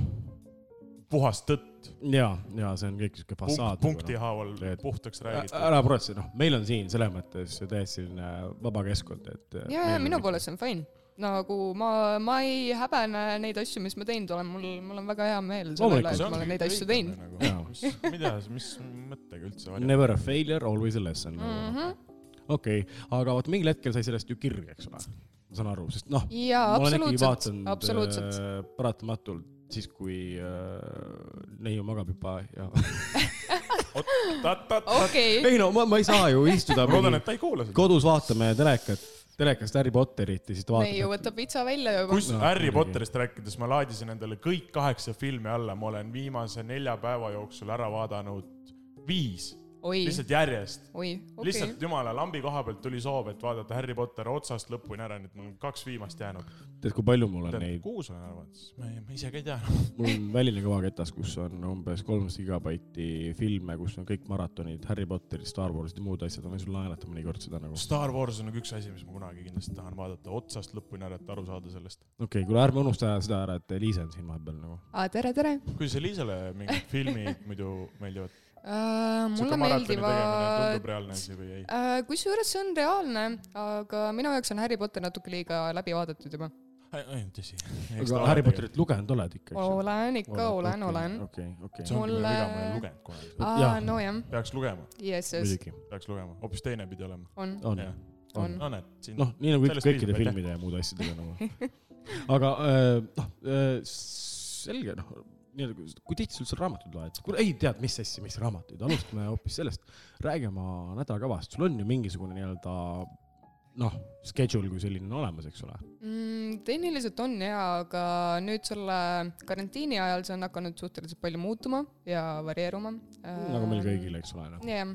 Speaker 7: puhas tõtt .
Speaker 5: ja , ja see on kõik siuke fassaad .
Speaker 7: punkti haaval
Speaker 5: Et-
Speaker 7: puhtaks räägitud .
Speaker 5: ära muretse , noh , meil on siin selles mõttes täiesti selline vaba keskkond , et .
Speaker 8: ja , ja minu . poolest on fine nagu ma , ma ei häbene neid asju , mis ma teinud olen , mul , mul on väga hea meel selle üle ,
Speaker 5: Loomulikult.
Speaker 8: et ma olen neid asju teinud .
Speaker 5: Jaa.
Speaker 7: *laughs* mida , mis mõttega üldse oli ?
Speaker 5: Never a failure , always a lesson mm
Speaker 8: Mhm.
Speaker 5: -hmm. . okei okay, , aga vot mingil hetkel sai sellest ju kirja , eks ole ? ma saan aru , sest noh .
Speaker 8: jaa ,
Speaker 5: ma olen ikkagi
Speaker 8: absoluutselt ,
Speaker 5: vaadanud
Speaker 8: absoluutselt .
Speaker 5: äh, paratamatult siis , kui äh, neiu magab juba ja . *laughs*
Speaker 8: okei okay. ,
Speaker 5: ei no ma , ma ei saa ju istuda
Speaker 7: ma loodan , et ta ei kuula seda .
Speaker 5: kodus vaatame telekat , telekast Harry Potterit ja siis ta
Speaker 8: neiu
Speaker 5: vaatab .
Speaker 8: võtab vitsa välja juba .
Speaker 7: kus
Speaker 5: No,
Speaker 7: no, Harry
Speaker 5: muidugi.
Speaker 7: Potterist rääkides ma laadisin endale kõik kaheksa filmi alla , ma olen viimase nelja päeva jooksul ära vaadanud viis .
Speaker 8: oi ,
Speaker 7: lihtsalt järjest
Speaker 8: oi ,
Speaker 7: okay. .
Speaker 8: okei
Speaker 7: lihtsalt . jumala lambi koha pealt tuli soov , et vaadata Harry Potter otsast lõpuni ära , nii et mul on kaks viimast jäänud .
Speaker 5: tead , kui palju mul on neid ,
Speaker 7: kuus on arvates , ma ei , ma ise ka ei tea .
Speaker 5: mul on väline kõvaketas , kus on umbes kolmsada gigabaiti filme , kus on kõik maratonid , Harry Potterist , Star Warsist ja muud asjad , ma võin sulle laenata mõnikord seda nagu .
Speaker 7: Star Wars on nagu üks asi , mis ma kunagi kindlasti tahan vaadata otsast lõpuni ära , et aru saada sellest .
Speaker 5: okei okay, , kuule ärme unusta seda ära , et Liisa on siin vahepeal nagu .
Speaker 8: aa , tere , tere
Speaker 7: kuidas Eliisale
Speaker 8: *laughs*
Speaker 7: mingid filmid muidu meeldivad ?
Speaker 8: uh, . mulle äh,
Speaker 7: tundub
Speaker 8: meeldivad ,
Speaker 7: reaalne asi või ei ?
Speaker 8: uh, kusjuures see on reaalne , aga minu jaoks on Harry Potter natuke liiga läbi vaadatud juba .
Speaker 7: ainult tõsi .
Speaker 5: aga Harry Potterit lugenud oled ikka , eks ju ?
Speaker 8: olen ikka , olen , olen .
Speaker 5: okei , okei .
Speaker 7: see ongi minu viga , ma ei
Speaker 8: mulle-
Speaker 7: ole lugenud kunagi .
Speaker 8: aa
Speaker 5: Jaa. ,
Speaker 8: nojah ,
Speaker 7: peaks lugema ,
Speaker 8: jess , jess ,
Speaker 5: muidugi ,
Speaker 7: peaks lugema , hoopis teine pidi olema .
Speaker 8: on ,
Speaker 5: on
Speaker 7: Jah.
Speaker 8: on .
Speaker 7: no näed , siin
Speaker 5: noh , nii nagu ikka
Speaker 7: Sellest
Speaker 5: kõikide
Speaker 7: piisab, aitäh.
Speaker 5: filmide ja muude asjadega
Speaker 8: *laughs*
Speaker 5: nagu . aga äh, noh äh, , selge noh , nii-öelda , kui tihti sa üldse raamatuid loed ? kuule , ei tead , mis asja , mis raamatuid , alustame hoopis sellest . räägi oma nädalakavast , sul on ju mingisugune nii-öelda noh , schedule kui selline on olemas , eks ole .
Speaker 8: mm, . tehniliselt on jaa , aga nüüd selle karantiini ajal see on hakanud suhteliselt palju muutuma ja varieeruma . Äh,
Speaker 5: nagu meil kõigil , eks ole noh .
Speaker 8: jah ,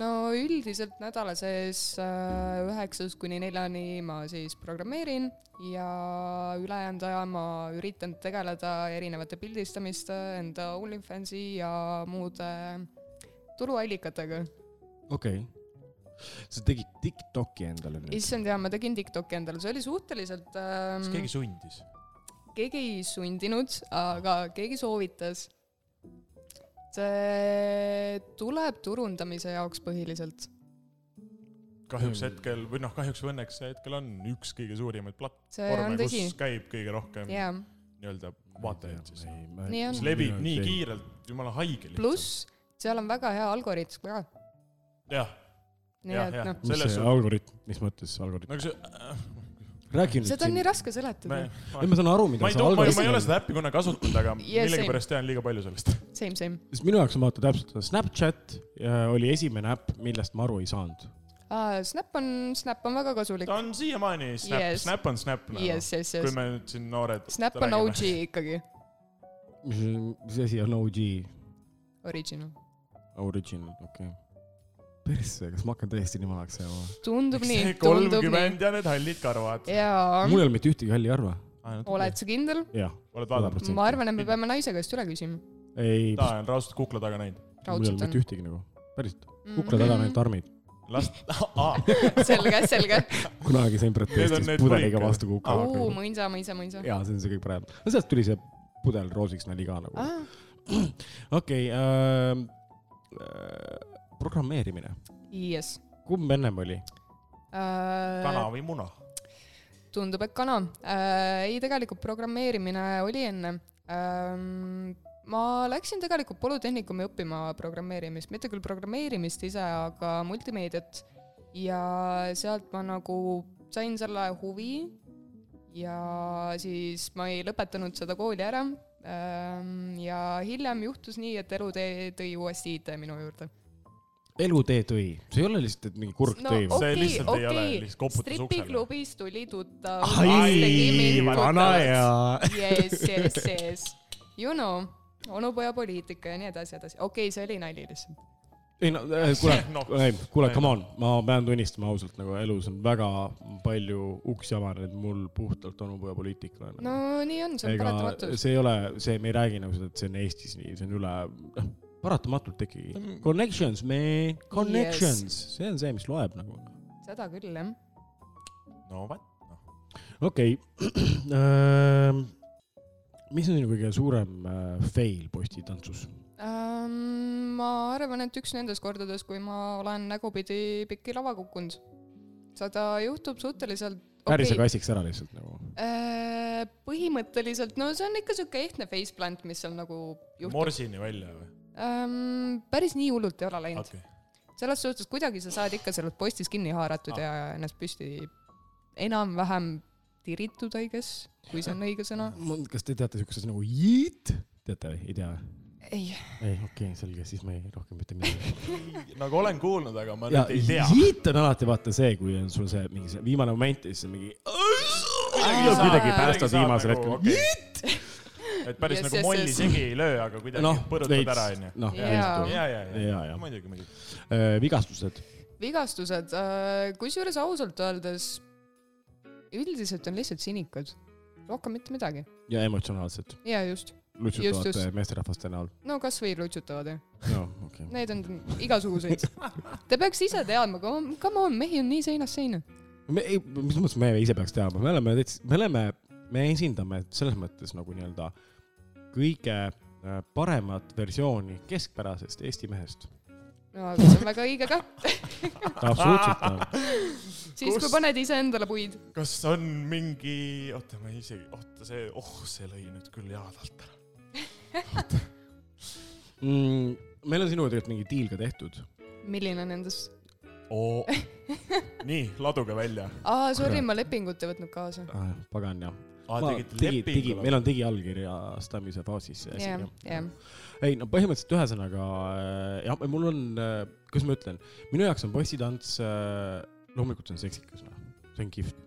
Speaker 8: no üldiselt nädala sees äh, üheksast kuni neljani ma siis programmeerin ja ülejäänud aja ma üritan tegeleda erinevate pildistamiste , enda OnlyFansi ja muude tuluallikatega .
Speaker 5: okei okay. sa tegid Tiktoki endale nüüd ?
Speaker 8: issand jaa , ma tegin Tiktoki endale , see oli suhteliselt ähm,
Speaker 7: kas keegi sundis ?
Speaker 8: keegi ei sundinud , aga keegi soovitas . see tuleb turundamise jaoks põhiliselt .
Speaker 7: kahjuks hetkel või noh , kahjuks või õnneks see hetkel on üks kõige suurimaid
Speaker 8: see on
Speaker 7: platvorme ,
Speaker 8: tõsi ,
Speaker 7: kus käib kõige rohkem
Speaker 8: jaa .
Speaker 7: nii-öelda vaatajaid siis .
Speaker 8: Nii on.
Speaker 7: mis levib nii . kiirelt , jumala haige lihtsalt .
Speaker 8: pluss seal on väga hea algoritm ka ,
Speaker 7: jah ,
Speaker 8: nii
Speaker 7: jah ,
Speaker 8: et
Speaker 7: jah
Speaker 8: noh ,,
Speaker 5: mis
Speaker 7: selles
Speaker 5: see
Speaker 7: suhtes ,
Speaker 5: algoritm , mis mõttes algoritm ?
Speaker 7: nagu see ,
Speaker 5: räägi nüüd
Speaker 8: seda on
Speaker 5: siin
Speaker 8: nii . raske seletada
Speaker 7: ma .
Speaker 5: ei , ma saan aru , mida
Speaker 7: ma ei
Speaker 5: see
Speaker 7: tea , ma ei ,
Speaker 5: algoritm
Speaker 7: ma ei ole seda äppi kunagi kasutanud , aga
Speaker 8: *clears throat* Yes,
Speaker 7: millegipärast tean liiga palju sellest .
Speaker 8: Same , same .
Speaker 5: sest minu jaoks on vaata täpselt , Snapchat äh, oli esimene äpp , millest ma aru ei saanud .
Speaker 8: Ah, Snap on , Snap on väga kasulik
Speaker 7: ta . on siiamaani Snap
Speaker 8: Yes.
Speaker 7: yes. , Snap on Snap nagu
Speaker 8: Yes ,
Speaker 7: yes, .
Speaker 8: yes ,
Speaker 7: kui
Speaker 8: yes .
Speaker 7: me nüüd siin noored .
Speaker 8: Snap on OG .
Speaker 7: *laughs*
Speaker 8: ikkagi ,
Speaker 5: mis , mis asi on OG ?
Speaker 8: original .
Speaker 5: Original , okei okay. . persse , kas ma hakkan täiesti nimelaks jääma ?
Speaker 8: tundub nii
Speaker 7: see ,
Speaker 8: tundub nii .
Speaker 7: kolmkümmend ja need hallid karvad .
Speaker 8: jaa ,
Speaker 5: mul ei ole mitte ühtegi halli arva .
Speaker 8: Eh, oled sa kindel ?
Speaker 5: jah ,
Speaker 7: oled
Speaker 5: sada
Speaker 7: vaadanud ?
Speaker 5: protsenti .
Speaker 8: ma arvan , et me peame naise käest üle küsima .
Speaker 5: ei ,
Speaker 7: ta on raudselt kukla taga näinud .
Speaker 5: mul ei
Speaker 8: raudselt on Mm.
Speaker 5: ole mitte . ühtegi nagu , päriselt . kukla taga on ainult armid .
Speaker 8: *laughs*
Speaker 7: las ah, ,
Speaker 8: selge , selge .
Speaker 5: kunagi sain
Speaker 7: Need on
Speaker 5: protestis
Speaker 7: need
Speaker 5: pudeliga
Speaker 7: võikud.
Speaker 5: vastu
Speaker 7: *laughs*
Speaker 5: kukla
Speaker 7: Aa,
Speaker 8: oo ,
Speaker 5: nagu. .
Speaker 8: mõisa , mõisa , mõisa .
Speaker 5: jaa , see on see kõik praegu . no sealt tuli see pudel roosiks nali ka nagu .
Speaker 8: Ah,
Speaker 5: *clears throat* okei , programmeerimine ,
Speaker 8: jess
Speaker 5: kumb ennem oli ?
Speaker 7: kana
Speaker 8: uh, .
Speaker 7: või muna ?
Speaker 8: tundub , et kana uh, . ei , tegelikult programmeerimine oli enne uh, . ma läksin tegelikult Polütehnikumi õppima programmeerimist , mitte küll programmeerimist ise , aga multimeediat . ja sealt ma nagu sain selle huvi ja siis ma ei lõpetanud seda kooli ära Ehm, ja hiljem juhtus nii , et elu tee- tõi uuesti IT minu juurde .
Speaker 5: elutee tõi , see ei ole lihtsalt , et mingi kurg tõi või ?
Speaker 7: See lihtsalt ei ole, lihtsalt koputas uksele.
Speaker 8: stripiklubis tuli tuttav .
Speaker 5: ja .
Speaker 8: jess , jess , jess . You know , onupojapoliitika ja nii edasi , edasi . okei okay, , see oli nali lihtsalt .
Speaker 5: ei no eh, kuule
Speaker 7: No.
Speaker 5: ei, kuule , come on , ma pean tunnistama ausalt nagu elus on väga palju uksi avanenud mul puhtalt onupojapoliitikale nagu.
Speaker 8: no nii on , see on
Speaker 5: ega
Speaker 8: paratamatus .
Speaker 5: see ei ole , see , me ei räägi nagu seda , et see on Eestis nii , see on üle , noh , paratamatult ikkagi connections , man , connections Mm. yes. , see on see , mis loeb nagu .
Speaker 8: seda küll , jah .
Speaker 7: no vot .
Speaker 5: okei *clears throat* okay. , mis on sinu kõige suurem eh, fail postitantsus ?
Speaker 8: Ehm, ma arvan , et üks nendest kordadest , kui ma olen nägupidi pikki lava kukkunud . seda juhtub suhteliselt
Speaker 5: päris
Speaker 8: okei,
Speaker 5: aga asiks ära lihtsalt nagu .
Speaker 8: äh, põhimõtteliselt , no see on ikka sihuke ehtne faceplant , mis seal nagu juhtub .
Speaker 7: morsini välja või ?
Speaker 8: Ähm, päris nii hullult ei ole läinud
Speaker 7: okei .
Speaker 8: selles suhtes kuidagi sa saad ikka sellest postist kinni haaratud ah. ja ennast püsti enam-vähem tiritud , I guess , kui see on õige sõna .
Speaker 5: kas te teate siukest asja nagu jiit ? teate või , ei tea või ?
Speaker 8: ei ,
Speaker 5: ei , okei okay, , selge , siis ma ei rohkem mitte midagi .
Speaker 7: nagu olen kuulnud , aga ma
Speaker 5: ja
Speaker 7: nüüd ei tea .
Speaker 5: jiit on alati vaata see , kui on sul see mingi see viimane moment ja siis on mingi .
Speaker 7: Kuidagi saab-
Speaker 5: kuidagi
Speaker 7: kuidagi
Speaker 5: päästad
Speaker 7: saab
Speaker 5: viimasel
Speaker 7: nagu,
Speaker 5: hetkel .
Speaker 7: okei.
Speaker 5: jiit .
Speaker 7: et päris
Speaker 8: Yes,
Speaker 7: nagu
Speaker 8: yes,
Speaker 7: molli
Speaker 8: yes.
Speaker 7: segi ei löö , aga kuidagi
Speaker 5: Noh,
Speaker 7: põrutad
Speaker 5: veits.
Speaker 7: ära , onju .
Speaker 5: Noh,
Speaker 8: Jaa.
Speaker 7: ja , ja ,
Speaker 5: Jaa,
Speaker 7: ja
Speaker 5: jaa. ,
Speaker 7: muidugi , muidugi .
Speaker 5: vigastused .
Speaker 8: vigastused , kusjuures ausalt öeldes üldiselt on lihtsalt sinikad , rohkem mitte midagi .
Speaker 5: ja emotsionaalsed .
Speaker 8: ja just , Just,
Speaker 5: lutsutavad
Speaker 8: just.
Speaker 5: eh, meesterahvaste näol .
Speaker 8: no kasvõi lutsutavad ju ,
Speaker 5: jaa ,
Speaker 8: *laughs*
Speaker 5: okei .
Speaker 8: neid on igasuguseid . Te peaks ise teadma , come on , mehi on nii seinast seina .
Speaker 5: me ei , mis mõttes me ise peaks teadma , me oleme täitsa , me oleme , me esindame selles mõttes nagu nii-öelda kõige äh, paremat versiooni keskpärasest Eesti mehest .
Speaker 8: no aga see on väga õige ka ,
Speaker 5: absoluutselt on .
Speaker 7: *laughs*
Speaker 8: siis kui
Speaker 7: Kus-
Speaker 8: paned iseendale puid .
Speaker 7: kas on mingi , oota , ma isegi , oota see , oh , see lõi nüüd küll jaadalt ära .
Speaker 5: mm, . meil on sinuga tegelikult mingi diil ka tehtud .
Speaker 8: milline nendest ?
Speaker 7: oo , *laughs* nii , laduge välja .
Speaker 8: aa , Ah, sorry ,
Speaker 5: Kurat.
Speaker 8: ma lepingut ei võtnud kaasa .
Speaker 5: Ah, pagan jah .
Speaker 7: aa , tegite
Speaker 5: digi , digi ,
Speaker 7: lepingu
Speaker 5: meil on digiallkirjastamise faasis see asi
Speaker 8: jah , jah .
Speaker 5: ei no põhimõtteliselt ühesõnaga äh, jah , mul on , kuidas ma ütlen , minu jaoks on bossitants , loomulikult see on seksikas noh , see on kihvt .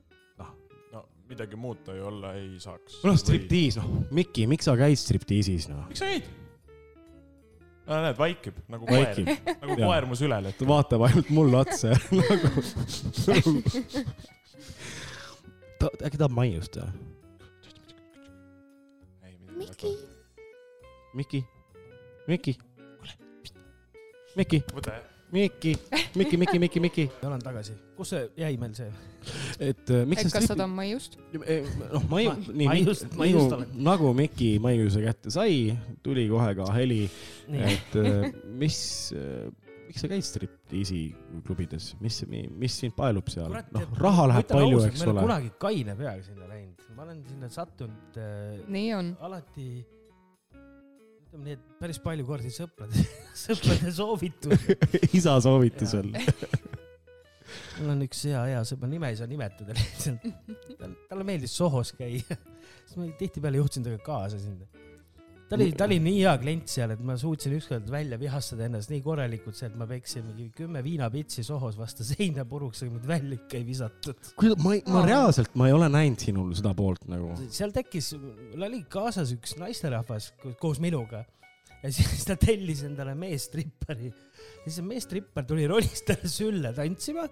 Speaker 7: no midagi muud ta ju olla ei saaks .
Speaker 5: mul on . striptiis noh , Miki , miks sa käid striptiisis noh ?
Speaker 7: miks sa käid ? no näed , vaikib nagu koer ,
Speaker 5: vaikib ,
Speaker 7: nagu
Speaker 5: Jaa.
Speaker 7: koer mu sülel , et
Speaker 5: ta vaatab ainult mulle otsa *laughs* nagu . ta äkki tahab maiust või ?
Speaker 7: ei, midagi ei .
Speaker 5: Miki , Miki , Miki ,
Speaker 7: võta jah .
Speaker 5: Miki , Miki , Miki , Miki , Miki ,
Speaker 6: ma olen tagasi . kus see jäi meil see ?
Speaker 5: et äh, miks
Speaker 8: et kas
Speaker 5: sa
Speaker 8: ta
Speaker 5: stripi-
Speaker 8: tahab maiust ?
Speaker 5: Eh, noh , ma ei
Speaker 6: Ma- ,
Speaker 5: nii
Speaker 6: ma ei
Speaker 5: Mik-
Speaker 6: just- ma ei just
Speaker 5: nagu
Speaker 6: olen. ,
Speaker 5: nagu Miki maiuse kätte sai , tuli kohe ka heli ,
Speaker 6: nii ,
Speaker 5: et eh, mis , miks sa käid striptiisi klubides , mis , mis sind paelub seal
Speaker 6: Kurat, ?
Speaker 5: noh
Speaker 6: tead, ,
Speaker 5: raha
Speaker 6: ma
Speaker 5: läheb
Speaker 6: ütlen
Speaker 5: palju ,
Speaker 6: ausalt ,
Speaker 5: eks
Speaker 6: ma olen
Speaker 5: ole .
Speaker 6: kunagi kaine peaga sinna läinud , ma olen sinna sattunud äh,
Speaker 8: nii on .
Speaker 6: alati , ütleme nii , et päris palju kordi sõprade , *laughs* sõprade soovitusel .
Speaker 5: *laughs* isa soovitusel .
Speaker 6: mul on üks hea , hea sõber , nime ei saa nimetada *laughs* lihtsalt . talle meeldis Sohos käia . *laughs* siis ma tihtipeale juhtisin temaga kaasa sinna . ta oli , ta oli nii hea klient seal , et ma suutsin ükskord välja vihastada ennast nii korralikult sealt , ma peksin mingi kümme viinapitsi Sohos vastu seina puruks , aga mind välja ikka ei visatud .
Speaker 5: kuule , ma ei , ma reaalselt , ma ei ole näinud sinul seda poolt nagu .
Speaker 6: Mm. seal tekkis , mul oli kaasas üks naisterahvas ko- koos minuga ja siis ta tellis endale meestrippari . ja siis see meestrippar tuli ronis talle sülle tantsima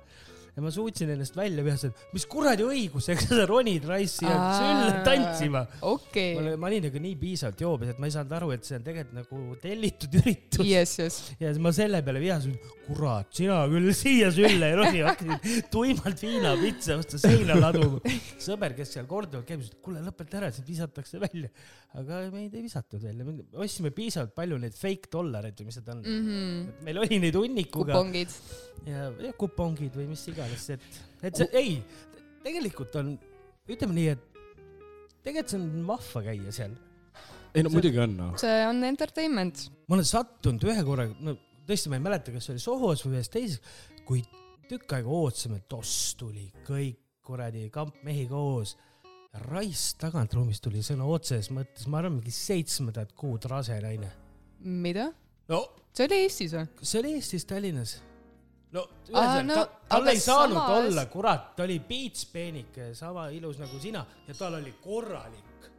Speaker 6: ja ma suutsin ennast välja vihastada , mis kuradi õigusega sa ronid raissi ja
Speaker 8: Aa.
Speaker 6: sülle tantsima .
Speaker 8: okei
Speaker 6: ma olin- ma olin nagu nii piisavalt joobes , et ma ei saanud aru , et see on tegelikult nagu tellitud üritus
Speaker 8: okay. . jess , jess .
Speaker 6: ja siis ma selle peale vihasin , kurat , sina küll siia sülle ei roni , hakkasin tuimalt viinapitsa vastu seina laduma . sõber , kes seal korduvalt käib , ütles , et kuule , lõpeta ära , sind visatakse välja . aga meid ei visatud välja , me ostsime piisavalt palju neid fake dollareid või mis need on mm. . meil oli neid hunnikuga
Speaker 8: kupongid .
Speaker 6: ja, ja kupongid või mis iganes , et , et see ei , tegelikult on , ütleme nii , et tegelikult see on vahva käia seal .
Speaker 5: ei no muidugi on noh .
Speaker 8: see on entertainment .
Speaker 6: ma olen sattunud ühe korra , no tõesti , ma ei mäleta , kas see oli Sohos või ühes teises , kui tükk aega ootasime , et oss tuli kõik kuradi kampmehi koos . raisk tagantruumist tuli sõna otseses mõttes , ma arvan , mingi seitsmendat kuud rase naine .
Speaker 8: mida ?
Speaker 6: no
Speaker 8: see oli Eestis või ?
Speaker 6: kas see oli Eestis , Tallinnas ? no
Speaker 8: Aa,
Speaker 6: ühesõnaga
Speaker 8: no,
Speaker 6: no, , tal
Speaker 8: aga
Speaker 6: ei saanud
Speaker 8: samas-
Speaker 6: olla , kurat , ta oli piitspeenike , sama ilus nagu sina ja tal oli korralik ,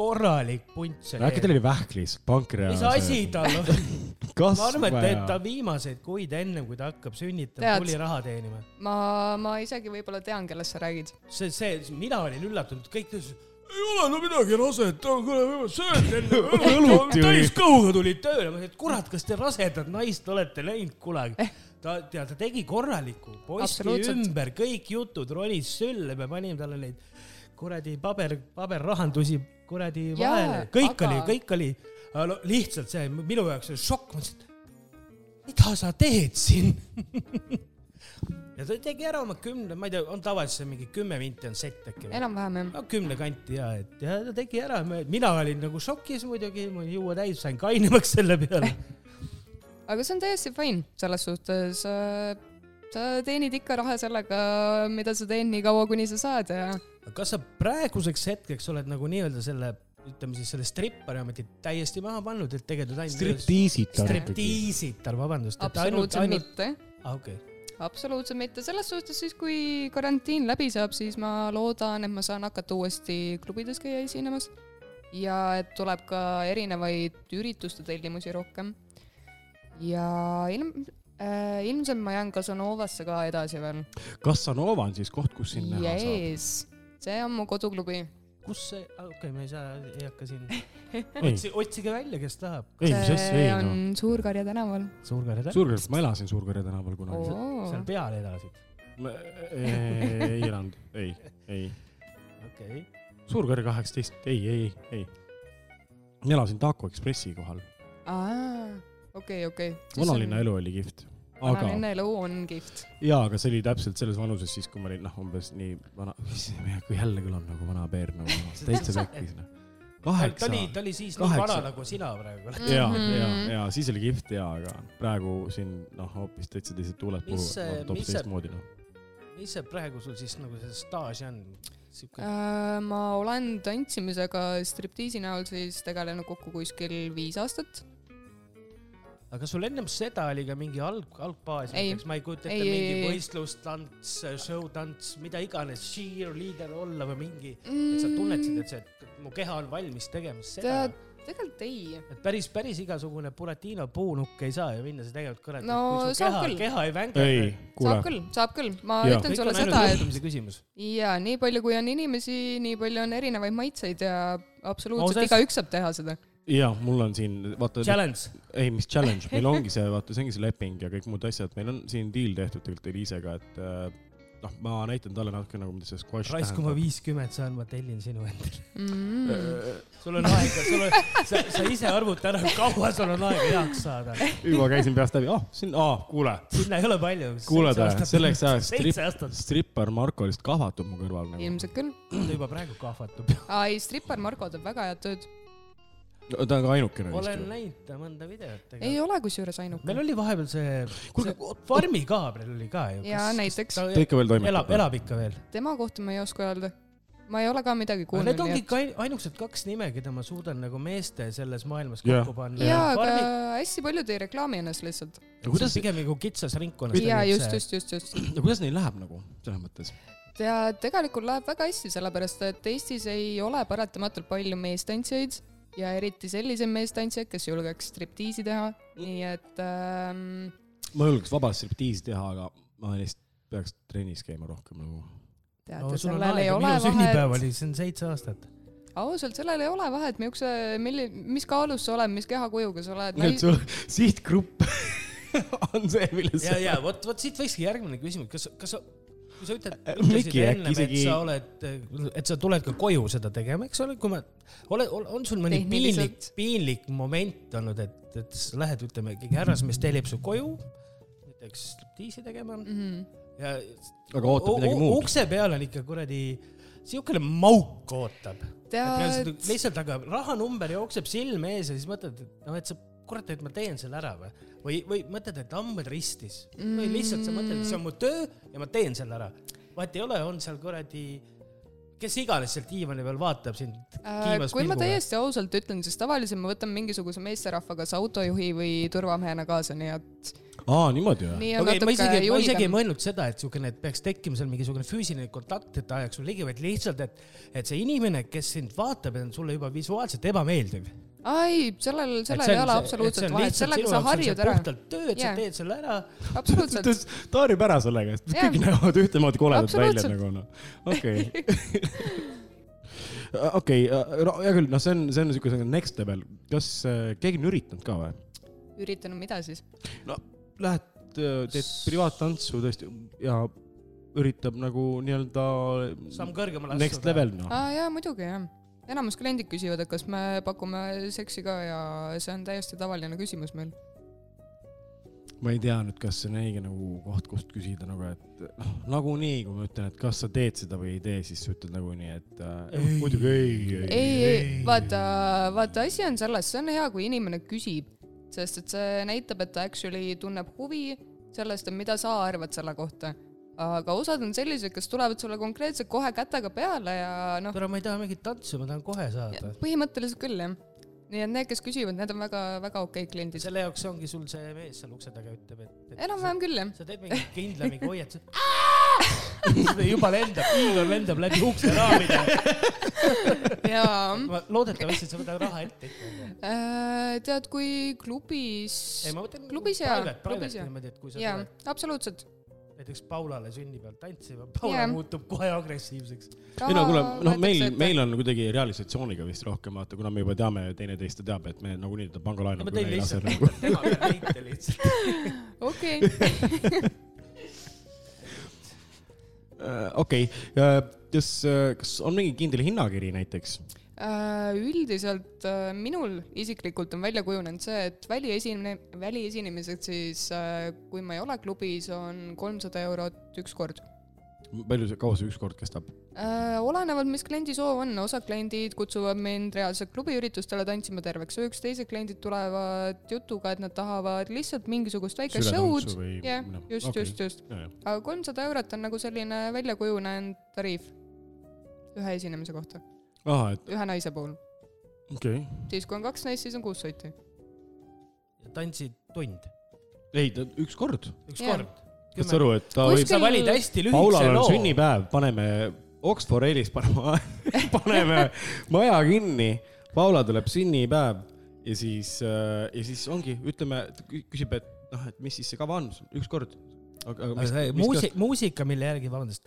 Speaker 6: korralik punt seal
Speaker 5: äkki
Speaker 6: ees
Speaker 5: tal oli vähklis , pankreas .
Speaker 6: mis asi tal on ? *laughs* ma
Speaker 5: kas
Speaker 6: arvan , et ta
Speaker 5: vaja ?
Speaker 6: viimaseid kuid ennem , kui ta hakkab sünnitama ,
Speaker 8: Tead-
Speaker 6: tuli raha teenima .
Speaker 8: ma , ma isegi võib-olla tean , kellest sa räägid .
Speaker 6: see , see , mina olin üllatunud , kõik ütlesid , ei ole no midagi raset , sööd enne ,
Speaker 5: *laughs* Õlut ju
Speaker 6: täis
Speaker 5: oli.
Speaker 6: kõhuga tulid tööle , ma ütlesin , et kurat , kas te rasedat naist olete näinud kunagi . ta , tead , ta tegi korraliku posti
Speaker 8: Eh. Absoluutselt.
Speaker 6: ümber , kõik jutud ronis sülle , me panime talle neid kuradi paber , paberrahandusi kuradi
Speaker 8: Jaa,
Speaker 6: vahele , kõik
Speaker 8: aga-
Speaker 6: oli , kõik oli , no lihtsalt see minu jaoks oli šokk , ma ütlesin , et mida sa teed siin ? *laughs* ja ta tegi ära oma kümne , ma ei tea , on tavaliselt see mingi kümme vinti on sett äkki või ?
Speaker 8: enam-vähem jah .
Speaker 6: no kümne kanti ja , et ja ta tegi ära , mina olin nagu šokis muidugi , ma olin juua täis , sain kainemaks selle
Speaker 8: *laughs*
Speaker 6: peale .
Speaker 8: aga see on täiesti fine selles suhtes äh, sa teenid ikka raha sellega , mida sa teenid nii kaua , kuni sa saad ja
Speaker 6: kas sa praeguseks hetkeks oled nagu nii-öelda selle , ütleme siis selle strippari ameti täiesti maha pannud , et tegelikult ainult
Speaker 5: striptiisid tal ikkagi .
Speaker 6: striptiisitar , vabandust , et ainult ,
Speaker 8: absoluutselt
Speaker 6: ainult ,
Speaker 8: mitte .
Speaker 6: okei okay. .
Speaker 8: absoluutselt mitte , selles suhtes siis , kui karantiin läbi saab , siis ma loodan , et ma saan hakata uuesti klubides käia esinemas . ja et tuleb ka erinevaid ürituste tellimusi rohkem . ja ilm- , äh, ilmselt ma jään Casanovasse ka edasi veel .
Speaker 5: Kassanova on siis koht , kus sind näha saab .
Speaker 8: jees , see on mu koduklubi .
Speaker 6: kus see , okei okay, , me ei saa , ei hakka siin .
Speaker 5: ei ,
Speaker 6: otsige , otsige välja , kes tahab .
Speaker 5: ei , mis asja , ei
Speaker 8: see on
Speaker 5: noh .
Speaker 8: Suur-Karja tänaval .
Speaker 6: Suur-Karja tänav .
Speaker 5: Suurkarjas , ma elasin Suurkarja tänaval kunagi .
Speaker 6: seal peal elasid ,
Speaker 8: Oh.
Speaker 5: ei elanud , ei , ei .
Speaker 6: okei okay. .
Speaker 5: Suurkarja kaheksateist , ei , ei , ei . ma elasin Taco Ekspressi kohal .
Speaker 8: okei , okei .
Speaker 5: vanalinna . elu oli kihvt . aga ,
Speaker 8: vanalinna elu on kihvt .
Speaker 5: jaa , aga see oli täpselt selles vanuses siis , kui ma olin noh , umbes nii vana , *laughs* jälle kõlab nagu vana Peer nagu noh, täitsa pekkis noh .
Speaker 6: ta
Speaker 5: kaheksa
Speaker 6: oli , ta oli siis nii
Speaker 5: Kaheksa.
Speaker 6: vana nagu sina praegu .
Speaker 5: ja , ja ,
Speaker 8: Mhm.
Speaker 5: ja siis oli kihvt ja , aga praegu siin noh , hoopis täitsa teised tuuled
Speaker 6: Mis see-
Speaker 5: puhuvad ,
Speaker 6: mis
Speaker 5: hoopis
Speaker 6: see-
Speaker 5: teistmoodi noh .
Speaker 6: mis see praegu sul siis nagu see staaž on ?
Speaker 8: Äh.
Speaker 6: sihuke ,
Speaker 8: ma olen tantsimisega striptiisi näol siis tegelenud kokku kuskil viis aastat .
Speaker 6: aga sul ennem seda oli ka mingi alg , algbaas ,
Speaker 8: Ei.
Speaker 6: näiteks ma ei kujuta
Speaker 8: Ei, ei,
Speaker 6: ette ,
Speaker 8: ei.
Speaker 6: mingi võistlustants , showtants , mida iganes , cheerleader olla või mingi ,
Speaker 8: Mm.
Speaker 6: et sa tunnetasid , et see , et mu keha on valmis tegema seda
Speaker 8: tead , tegelikult ei .
Speaker 6: et päris , päris igasugune Buratino puunukk ei saa ju minna , sa tegelikult kurat .
Speaker 8: No saab
Speaker 6: keha,
Speaker 8: küll.
Speaker 6: keha ei
Speaker 5: ei
Speaker 6: vängerda .,
Speaker 8: saab
Speaker 5: kuule ,
Speaker 8: küll , saab küll . ma
Speaker 5: Jaa.
Speaker 8: ütlen
Speaker 6: kõik
Speaker 8: sulle
Speaker 6: on
Speaker 8: seda ,
Speaker 6: ainult
Speaker 8: et
Speaker 6: juhtimise küsimus .
Speaker 8: jaa , nii palju , kui on inimesi , nii palju on erinevaid maitseid ja absoluutselt
Speaker 6: Ausalt?
Speaker 8: igaüks saab teha seda .
Speaker 5: jaa , mul on siin , vaata ,
Speaker 6: Challenge .
Speaker 5: ei , mis challenge , meil ongi see , vaata , see ongi see leping ja kõik muud asjad , meil on siin deal tehtud tegelikult Eliisega , et äh, noh , ma näitan talle natuke nagu , mida see squash
Speaker 6: raisk , kui ma viiskümmend saan , ma tellin sinu endale .
Speaker 5: Äh,
Speaker 8: Mm.
Speaker 6: sul on aega , sul on , sa , sa ise arvuta ära , kaua sul on aega heaks saada .
Speaker 5: juba käisin peast läbi , ah , siin , aa , kuule ,
Speaker 6: sinna ei ole palju .
Speaker 5: kuule ta , selleks ajaks
Speaker 6: seitse
Speaker 5: strip- ,
Speaker 6: aastat ,
Speaker 5: strippar Marko lihtsalt kahvatub mu kõrval nagu .
Speaker 8: ilmselt küll .
Speaker 6: ta juba praegu kahvatub .
Speaker 8: aa ei , strippar Margo teeb väga head tööd .
Speaker 5: ta on ka ainukene
Speaker 6: olen
Speaker 5: vist .
Speaker 6: näinud ta mõnda videot ,
Speaker 8: ei
Speaker 6: aga
Speaker 8: ole kusjuures ainuke .
Speaker 6: meil oli vahepeal see ,
Speaker 5: Kuulge,
Speaker 6: kuulge , farmi Gabriel oli ka ju .
Speaker 8: jaa , näiteks .
Speaker 6: ta
Speaker 5: ta ikka veel toimetab .
Speaker 6: elab , elab ikka veel .
Speaker 8: tema kohta ma ei oska öelda . ma ei ole ka midagi
Speaker 6: aga
Speaker 8: kuulnud
Speaker 6: need . ongi ka ainukesed kaks nime , keda ma suudan nagu meeste selles maailmas
Speaker 5: Jah.
Speaker 6: kokku panna .
Speaker 8: jaa , aga hästi paljud ei reklaami ennast lihtsalt .
Speaker 5: kuidas
Speaker 6: kuidas , pigem nagu kitsas ringkonnas .
Speaker 8: jaa , just ,. just , just , just .
Speaker 5: kuidas neil läheb nagu selles mõttes ?
Speaker 8: ja tegelikult läheb väga hästi , sellepärast et Eestis ei ole paratamatult palju meestantsijaid ja eriti selliseid meestantsijaid , kes julgeks striptiisi teha ,
Speaker 6: Mm.
Speaker 8: nii et ähm,
Speaker 5: ma julgeks vaba striptiisi teha , aga ma lihtsalt peaks trennis käima rohkem nagu .
Speaker 8: tead
Speaker 6: no
Speaker 8: no, ,
Speaker 6: sul on
Speaker 8: sellel ei
Speaker 6: aega ,
Speaker 8: ole
Speaker 6: minu sünnipäev
Speaker 8: vahet ,
Speaker 6: oli , see on seitse aastat .
Speaker 8: ausalt , sellel ei ole vahet , milline , milline , mis kaalus sa oled , mis kehakujuga sa oled .
Speaker 5: nii et sul sihtgrupp *laughs* on see , milles
Speaker 6: ja , ja vot , vot siit võikski järgmine küsimus , kas , kas sa , kui sa ütled ,
Speaker 5: Äh,
Speaker 6: ütlesid
Speaker 5: Miki, äkki
Speaker 6: ennem , et
Speaker 5: isegi-
Speaker 6: sa oled , et sa tuled ka koju seda tegema , eks ole , kui ma , ole , on sul mõni piinlik
Speaker 8: Tehniliselt. ,
Speaker 6: piinlik moment olnud , et , et sa lähed , ütleme , keegi härrasmees tellib su koju , näiteks diisi tegema mm
Speaker 8: Mhm.
Speaker 6: ja
Speaker 5: aga ootab midagi
Speaker 6: u- u-
Speaker 5: muud .
Speaker 6: ukse peal on ikka kuradi siukene mauk ootab .
Speaker 8: tead ,
Speaker 6: lihtsalt , aga rahanumber jookseb silme ees ja siis mõtled , et noh , et sa kurat , et ma teen selle ära või , või , või mõtled , et hambad ristis või lihtsalt sa mõtled , et see on mu töö ja ma teen selle ära . vahet ei ole , on seal kuradi , kes iganes seal diivani peal vaatab sind
Speaker 8: Äh,
Speaker 6: kiivas
Speaker 8: kui ma
Speaker 6: pilguga.
Speaker 8: täiesti ausalt ütlen , siis tavaliselt ma võtan mingisuguse meesterahva , kas autojuhi või turvamehena kaasa , nii et
Speaker 5: aa , niimoodi või ?
Speaker 8: nii on
Speaker 6: okei , ma
Speaker 8: natuke
Speaker 6: isegi , ma isegi ei
Speaker 8: julgem .
Speaker 6: mõelnud seda , et siukene , et peaks tekkima seal mingisugune füüsiline kontakt , et ta ajaks sul ligi , vaid lihtsalt , et , et see inimene , kes sind vaatab , on sulle juba visuaalselt ebameeldiv .
Speaker 8: ei , sellel , sellel ei ole absoluutselt vahet , sellega sa harjud ära ,
Speaker 6: puhtalt töö , et sa
Speaker 8: Jaa.
Speaker 6: teed selle ära .
Speaker 8: absoluutselt
Speaker 6: *laughs*
Speaker 5: ta . taarib ära sellega , sest
Speaker 8: Jah.
Speaker 5: kõik näevad ühtemoodi koledad välja
Speaker 8: Absoluutselt.
Speaker 5: nagu noh , okei .
Speaker 8: *laughs*
Speaker 5: okei , hea küll , noh , see on , see on niisugune next level , kas äh, keegi on üritanud ka või ?
Speaker 8: üritanud mida siis ?
Speaker 5: Lähed , teed privaattantsu tõesti ja üritab nagu nii-öelda
Speaker 6: samm kõrgemale .
Speaker 5: next . level noh .
Speaker 8: aa Ah, jaa , muidugi jah . enamus kliendid küsivad , et kas me pakume seksi ka ja see on täiesti tavaline küsimus meil .
Speaker 5: ma ei tea nüüd , kas see on õige nagu koht , kust küsida nagu , et noh , nagunii , kui ma ütlen , et kas sa teed seda või ei tee , siis sa ütled nagunii , et äh,
Speaker 6: Ei.
Speaker 5: muidugi ei , ei .
Speaker 8: ei , ei , vaata , vaata , asi on selles , see on hea , kui inimene küsib , sest et see näitab , et ta actually tunneb huvi sellest , et mida sa arvad selle kohta . aga osad on sellised , kes tulevad sulle konkreetselt kohe kätega peale ja noh ,
Speaker 6: tore , ma ei taha mingit tantsu , ma tahan kohe saada .
Speaker 8: põhimõtteliselt küll jah . nii et need , kes küsivad , need on väga-väga okei kliendid .
Speaker 6: selle jaoks ongi sul see mees seal ukse taga ütleb , et .
Speaker 8: enam-vähem küll jah .
Speaker 6: *laughs* sa teed mingi kindla mingi hoiatuse . see juba lendab , Igor lendab läbi ukseraamide .
Speaker 8: jaa .
Speaker 6: loodetavasti sa võtad raha ette ikka .
Speaker 8: Äh, tead , kui klubis
Speaker 6: ei , ma mõtlen nagu
Speaker 8: Klubis jaa,
Speaker 6: private ,
Speaker 8: klubis
Speaker 6: private
Speaker 8: jaa.
Speaker 6: niimoodi , et kui sa
Speaker 8: jaa
Speaker 6: tuled ,
Speaker 8: absoluutselt .
Speaker 6: näiteks Paulale sünnipäeval tantsima , Paula
Speaker 8: Jaa.
Speaker 6: muutub kohe agressiivseks .
Speaker 5: ei no kuule , noh , meil , meil on kuidagi realisatsiooniga vist rohkem , vaata , kuna me juba teame , teineteist ta teab , et me nagunii teda pangalaenu
Speaker 6: ma tõin lihtsalt
Speaker 5: nagu .
Speaker 6: *laughs* tema peal näite lihtsalt .
Speaker 5: *laughs*
Speaker 8: okei ,
Speaker 5: nagu- Äh, okei , kas , kas on mingi kindel hinnakiri näiteks ?
Speaker 8: üldiselt äh, minul isiklikult on välja kujunenud see , et väliesine- , väliesinemised siis , kui ma ei ole klubis , on kolmsada eurot üks kord .
Speaker 5: palju see , kaua see ükskord kestab ?
Speaker 8: Äh, olenevalt , mis kliendi soov on , osa kliendid kutsuvad mind reaalselt klubiüritustele tantsima terveks ööks , teised kliendid tulevad jutuga , et nad tahavad lihtsalt mingisugust väikest show'd . jah , just , just ,. just . aga kolmsada eurot on nagu selline väljakujunenud tariif ühe esinemise kohta ,
Speaker 5: aa , et
Speaker 8: ühe naise puhul .
Speaker 5: okei okay. .
Speaker 8: siis , kui on kaks naist , siis on kuus sotti .
Speaker 6: tantsid tund ,
Speaker 5: ei , ta ükskord .
Speaker 6: üks
Speaker 8: Jaa.
Speaker 6: kord .
Speaker 5: saad sa aru , et ta võib
Speaker 8: Kuskil- ,
Speaker 6: sa valid hästi lühikese
Speaker 5: Paulal on
Speaker 6: loo .
Speaker 5: sünnipäev , paneme Oxford Ailis , paneme , *laughs* paneme maja kinni . Paula tuleb sünnipäev ja siis , ja siis ongi , ütleme , küsib , et noh , et mis siis see kava on , ükskord . aga aga mis, mis
Speaker 6: muusika , muusika , mille järgi , vabandust ,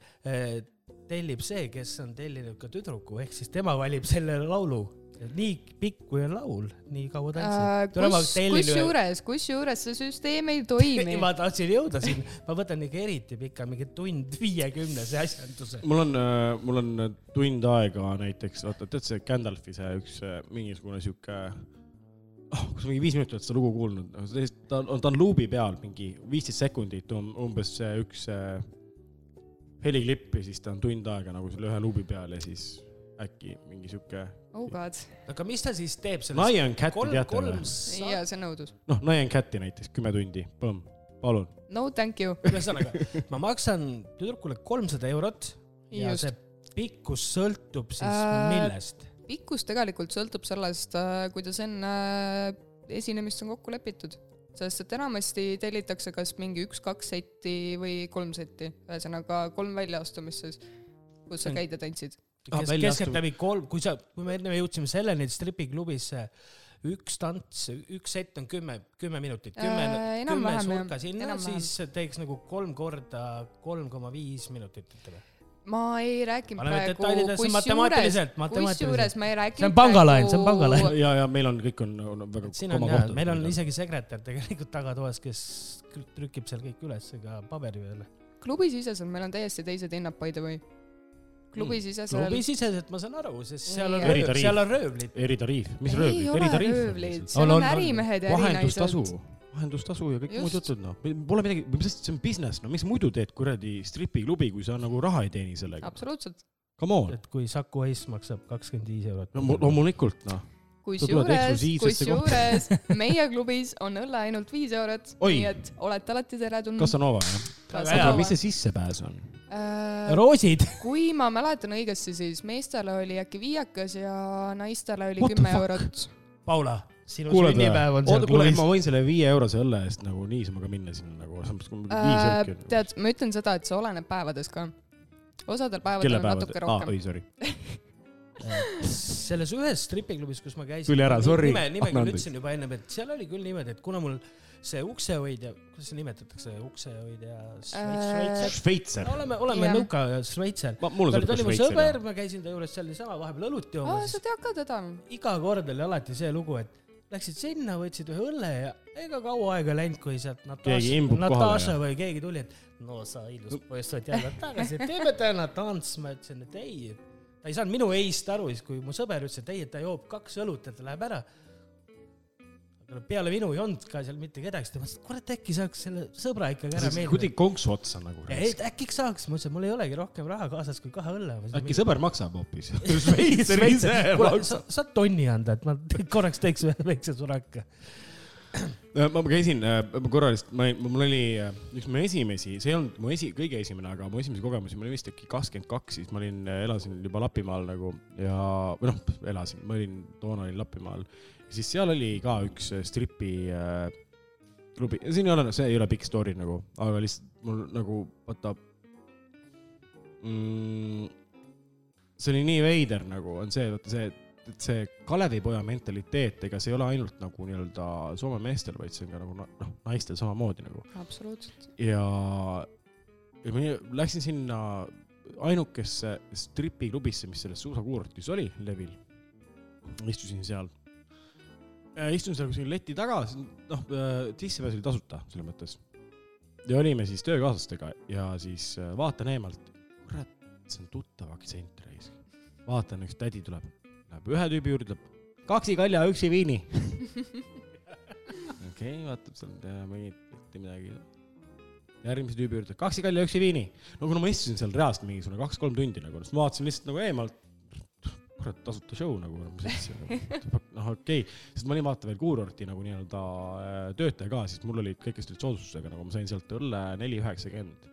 Speaker 6: tellib see , kes on tellinud ka tüdruku , ehk siis tema valib selle laulu . nii pikk , kui on laul , nii kaua tantsid .
Speaker 8: Äh, kusjuures , kusjuures see süsteem ei
Speaker 6: *laughs*
Speaker 8: toimi .
Speaker 6: ma tahtsin jõuda sinna , ma võtan ikka eriti pika , mingi tund viiekümnese asjanduse .
Speaker 5: mul on , mul on äh, tund aega näiteks , vaata , tead see Gandalfi see üks äh, mingisugune sihuke , oh, kas mingi viis minutit oled seda lugu kuulnud , ta on , ta on luubi peal mingi viisteist sekundit on umbes see üks äh, heliklipp ja siis ta on tund aega nagu selle ühe luubi peal ja siis äkki mingi sihuke .
Speaker 8: oh god ,
Speaker 6: aga mis ta siis teeb sellest ?
Speaker 5: Lion Cati
Speaker 6: kolm ,
Speaker 5: teate või
Speaker 6: kolm ?,
Speaker 8: jaa , see on nõudlus .
Speaker 5: noh , Lion Cati näiteks kümme tundi , põmm , palun .
Speaker 8: no thank you .
Speaker 6: ühesõnaga , ma maksan tüdrukule kolmsada eurot ja
Speaker 8: Just.
Speaker 6: Just. see pikkus sõltub siis
Speaker 8: Äh,
Speaker 6: äh... millest ?
Speaker 8: pikkus tegelikult sõltub sellest , kuidas enne äh, esinemist on kokku lepitud . sest et enamasti tellitakse kas mingi üks-kaks setti või kolm setti , ühesõnaga kolm väljaastumist siis , kus sa käid ja tantsid .
Speaker 5: Ah,
Speaker 6: kes,
Speaker 5: välja astuv-
Speaker 6: keskeltläbi kolm , kui sa , kui me enne jõudsime selleni , et stripiklubis see üks tants , üks sett on kümme , kümme minutit ,
Speaker 8: Äh,
Speaker 6: kümme , kümme
Speaker 8: enam-vähem, jah.
Speaker 6: surka sinna ,
Speaker 8: Enam-vähem.
Speaker 6: siis teeks nagu kolm korda kolm koma viis minutit , ütleme .
Speaker 8: ma ei rääkinud
Speaker 6: Paneme
Speaker 8: praegu ,
Speaker 6: detailidesse
Speaker 8: kusjuures ,
Speaker 6: matemaatiliselt ,
Speaker 8: kusjuures
Speaker 6: matemaatiliselt .
Speaker 8: ma ei rääkinud
Speaker 6: See on pangalaen, see on pangalaen.
Speaker 5: ja , ja meil on , kõik on, on väga
Speaker 6: siin on
Speaker 5: oma
Speaker 6: jah
Speaker 5: kohtadel. ,
Speaker 6: meil on isegi sekretär tegelikult tagatoas , kes kül- trükib seal kõik üles ka paberi peale .
Speaker 8: klubisiseselt meil on täiesti teised hinnad by the way .
Speaker 5: Hmm.
Speaker 8: klubisiseselt Klubis...
Speaker 6: klubisiseselt ma saan aru , sest seal on
Speaker 8: Jah. ,
Speaker 5: Eritariif.
Speaker 6: seal on röövlid .
Speaker 5: eritariif , mis
Speaker 8: Ei
Speaker 5: röövlid ,
Speaker 8: ole
Speaker 5: eritariif .
Speaker 8: röövlid, seal on ärimehed ja
Speaker 5: vahendustasu
Speaker 8: erinaised. ,
Speaker 5: vahendustasu ja kõik
Speaker 8: Just.
Speaker 5: muud jutud , noh , pole midagi , mis asja , see on business , no mis muidu teed kuradi stripiklubi , kui sa nagu raha ei teeni sellega .
Speaker 8: absoluutselt ,
Speaker 5: Come on ,
Speaker 6: et kui Saku Ace maksab kakskümmend viis eurot .
Speaker 5: no mu- loomulikult noh ,
Speaker 8: Mm.
Speaker 5: tuled
Speaker 8: kusjuures ,
Speaker 5: eksklusiivsesse
Speaker 8: kusjuures meie klubis on õlle ainult viis eurot ,
Speaker 5: Oi.
Speaker 8: nii et olete alati teretulnud .
Speaker 5: Casanova jah .
Speaker 6: Jaa.
Speaker 5: aga mis see sissepääs on ?
Speaker 8: Äh,
Speaker 6: roosid . *laughs*
Speaker 8: kui ma mäletan õigesti , siis meestele oli äkki viiekas ja naistele oli
Speaker 5: What the
Speaker 8: kümme
Speaker 5: fuck?
Speaker 8: eurot .
Speaker 6: Paula , sinu
Speaker 5: kuule ,
Speaker 6: sünnipäev on seal
Speaker 5: kuule ,
Speaker 6: klubis
Speaker 5: ma . võin selle viie eurose õlle eest nagu niisama ka minna sinna nagu , samas kui mul viis
Speaker 8: Äh,
Speaker 5: õlki on .
Speaker 8: tead , ma ütlen seda , et see oleneb päevadest ka . osadel päevadel
Speaker 5: kelle
Speaker 8: on
Speaker 5: päevad
Speaker 8: natuke ?
Speaker 5: aa ,
Speaker 8: rohkem .
Speaker 5: ei , sorry .
Speaker 6: selles ühes stripiklubis , kus ma käisin .
Speaker 5: Tuli ära, sorry.
Speaker 6: nime , nime
Speaker 5: Anna
Speaker 6: küll
Speaker 5: andeks.
Speaker 6: ütlesin juba ennem , et seal oli küll niimoodi , et kuna mul see uksehoidja , kuidas seda nimetatakse , uksehoidja ,
Speaker 8: Äh,
Speaker 6: šveitser .
Speaker 5: Šveitser .
Speaker 6: oleme , oleme
Speaker 8: Jah.
Speaker 6: nõuka ja šveitser .
Speaker 5: mul
Speaker 6: ta
Speaker 5: on
Speaker 6: oli , ta
Speaker 5: sõber
Speaker 6: oli mu
Speaker 5: Šveitser
Speaker 6: sõber , ma käisin ta juures seal niisama vahepeal õlut
Speaker 8: aa ,
Speaker 6: joomas
Speaker 8: sa . tead ka teda ?
Speaker 6: iga kord oli alati see lugu , et läksid sinna , võtsid ühe õlle ja ega kaua aega ei läinud , kui sealt
Speaker 5: Keegi
Speaker 6: Natasha
Speaker 5: imbub , kohale,
Speaker 6: Natasha
Speaker 5: jah.
Speaker 6: või keegi tuli , et no sa ilus poiss , sa oled jälle tagasi , teeme täna tants , ma ütlesin , et ei , et ta ei saanud minu ei-st aru , siis kui mu sõber ütles , et ei , et ta joob kaks õlut ja ta läheb ära . aga no peale minu ei olnud ka seal mitte kedagi , siis ta mõtles , et kurat , äkki saaks selle sõbra ikkagi ära
Speaker 5: sõber .
Speaker 6: meeldida
Speaker 5: kuidagi . konksu otsa nagu .
Speaker 6: ei , äkki saaks , ma ütlesin , mul ei olegi rohkem raha kaasas kui kahe õlle .
Speaker 5: äkki sõber maksab
Speaker 6: *laughs*
Speaker 5: hoopis ?
Speaker 6: Šveitser ise maksab . saad tonni anda , et ma *laughs* te- korraks teeks ühe väikse suraka .
Speaker 5: Äh, ma ma käisin äh, ma korra vist , ma , mul oli äh, üks mu esimesi , see ei olnud mu esi , kõige esimene , aga mu esimesi kogemusi , ma olin vist äkki kakskümmend kaks , siis ma olin , elasin juba Lapimaal nagu ja , või noh , elasin , ma olin , toona olin Lapimaal . siis seal oli ka üks äh, stripi äh, klubi , siin ei ole , see ei ole pikk story nagu , aga lihtsalt mul nagu , vaata , mm, see oli nii veider nagu on see , vaata see , et see Kalevipoja mentaliteet , ega see ei ole ainult nagu nii-öelda Soome meestel , vaid see on ka nagu na- noh , naistel samamoodi nagu .
Speaker 8: absoluutselt .
Speaker 5: ja , ja ma läksin sinna ainukesse stripiklubisse , mis selles suusakuurortis oli , Levil . istusin seal . istusin seal kuskil leti taga , noh , sissepääs oli tasuta selles mõttes . ja olime siis töökaaslastega ja siis äh, vaatan eemalt , kurat , see on tuttav aktsent reis . vaatan , üks tädi tuleb , läheb ühe tüübi juurde , ütleb kaksi kalja , üksi viini . okei , vaatab sealt ja mingit , mitte midagi . järgmise tüübi juurde , kaksi kalja , üksi viini . no kuna ma istusin seal reaalselt mingisugune kaks-kolm tundi nagu , siis ma vaatasin lihtsalt nagu eemalt , kurat , tasuta show nagu , mis asja nagu. . noh , okei okay. , sest ma olin vaata veel kuurorti nagu nii-öelda äh, töötaja ka , siis mul olid kõik , kes tulid soodustusega , nagu ma sain sealt õlle neli üheksakümmend .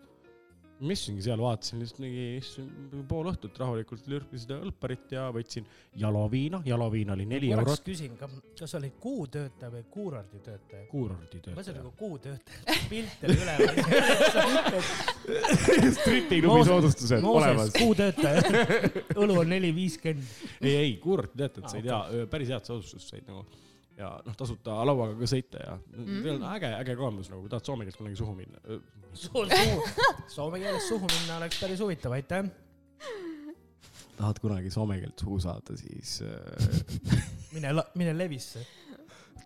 Speaker 5: ma istusingi seal , vaatasin lihtsalt mingi , istusin pool õhtut rahulikult , lürpisin seda õlparit ja võtsin jaloviina , jaloviin oli neli
Speaker 6: korraks
Speaker 5: eurot .
Speaker 6: küsin ka , kas sa olid kuutöötaja või kuurordi töötaja ?
Speaker 5: kuurordi
Speaker 6: ma saan
Speaker 5: töötaja
Speaker 6: nagu . kuutöötaja , pilt oli *laughs* üleval .
Speaker 5: stripiklubi soodustused olemas .
Speaker 6: kuutöötaja , *laughs* õlu on neli viiskümmend .
Speaker 5: ei , ei kuurorti töötajad said
Speaker 6: Aa,
Speaker 5: ja päris head soodustust said nagu ja noh , tasuta lauaga ka sõita ja mm. on äge , äge kogemus nagu , kui tahad soome keelt kunagi suhu minna .
Speaker 6: suur suu , soome keeles suhu minna oleks päris huvitav , aitäh .
Speaker 5: tahad kunagi soome keelt suhu saada , siis äh,
Speaker 6: mine , mine Levisse .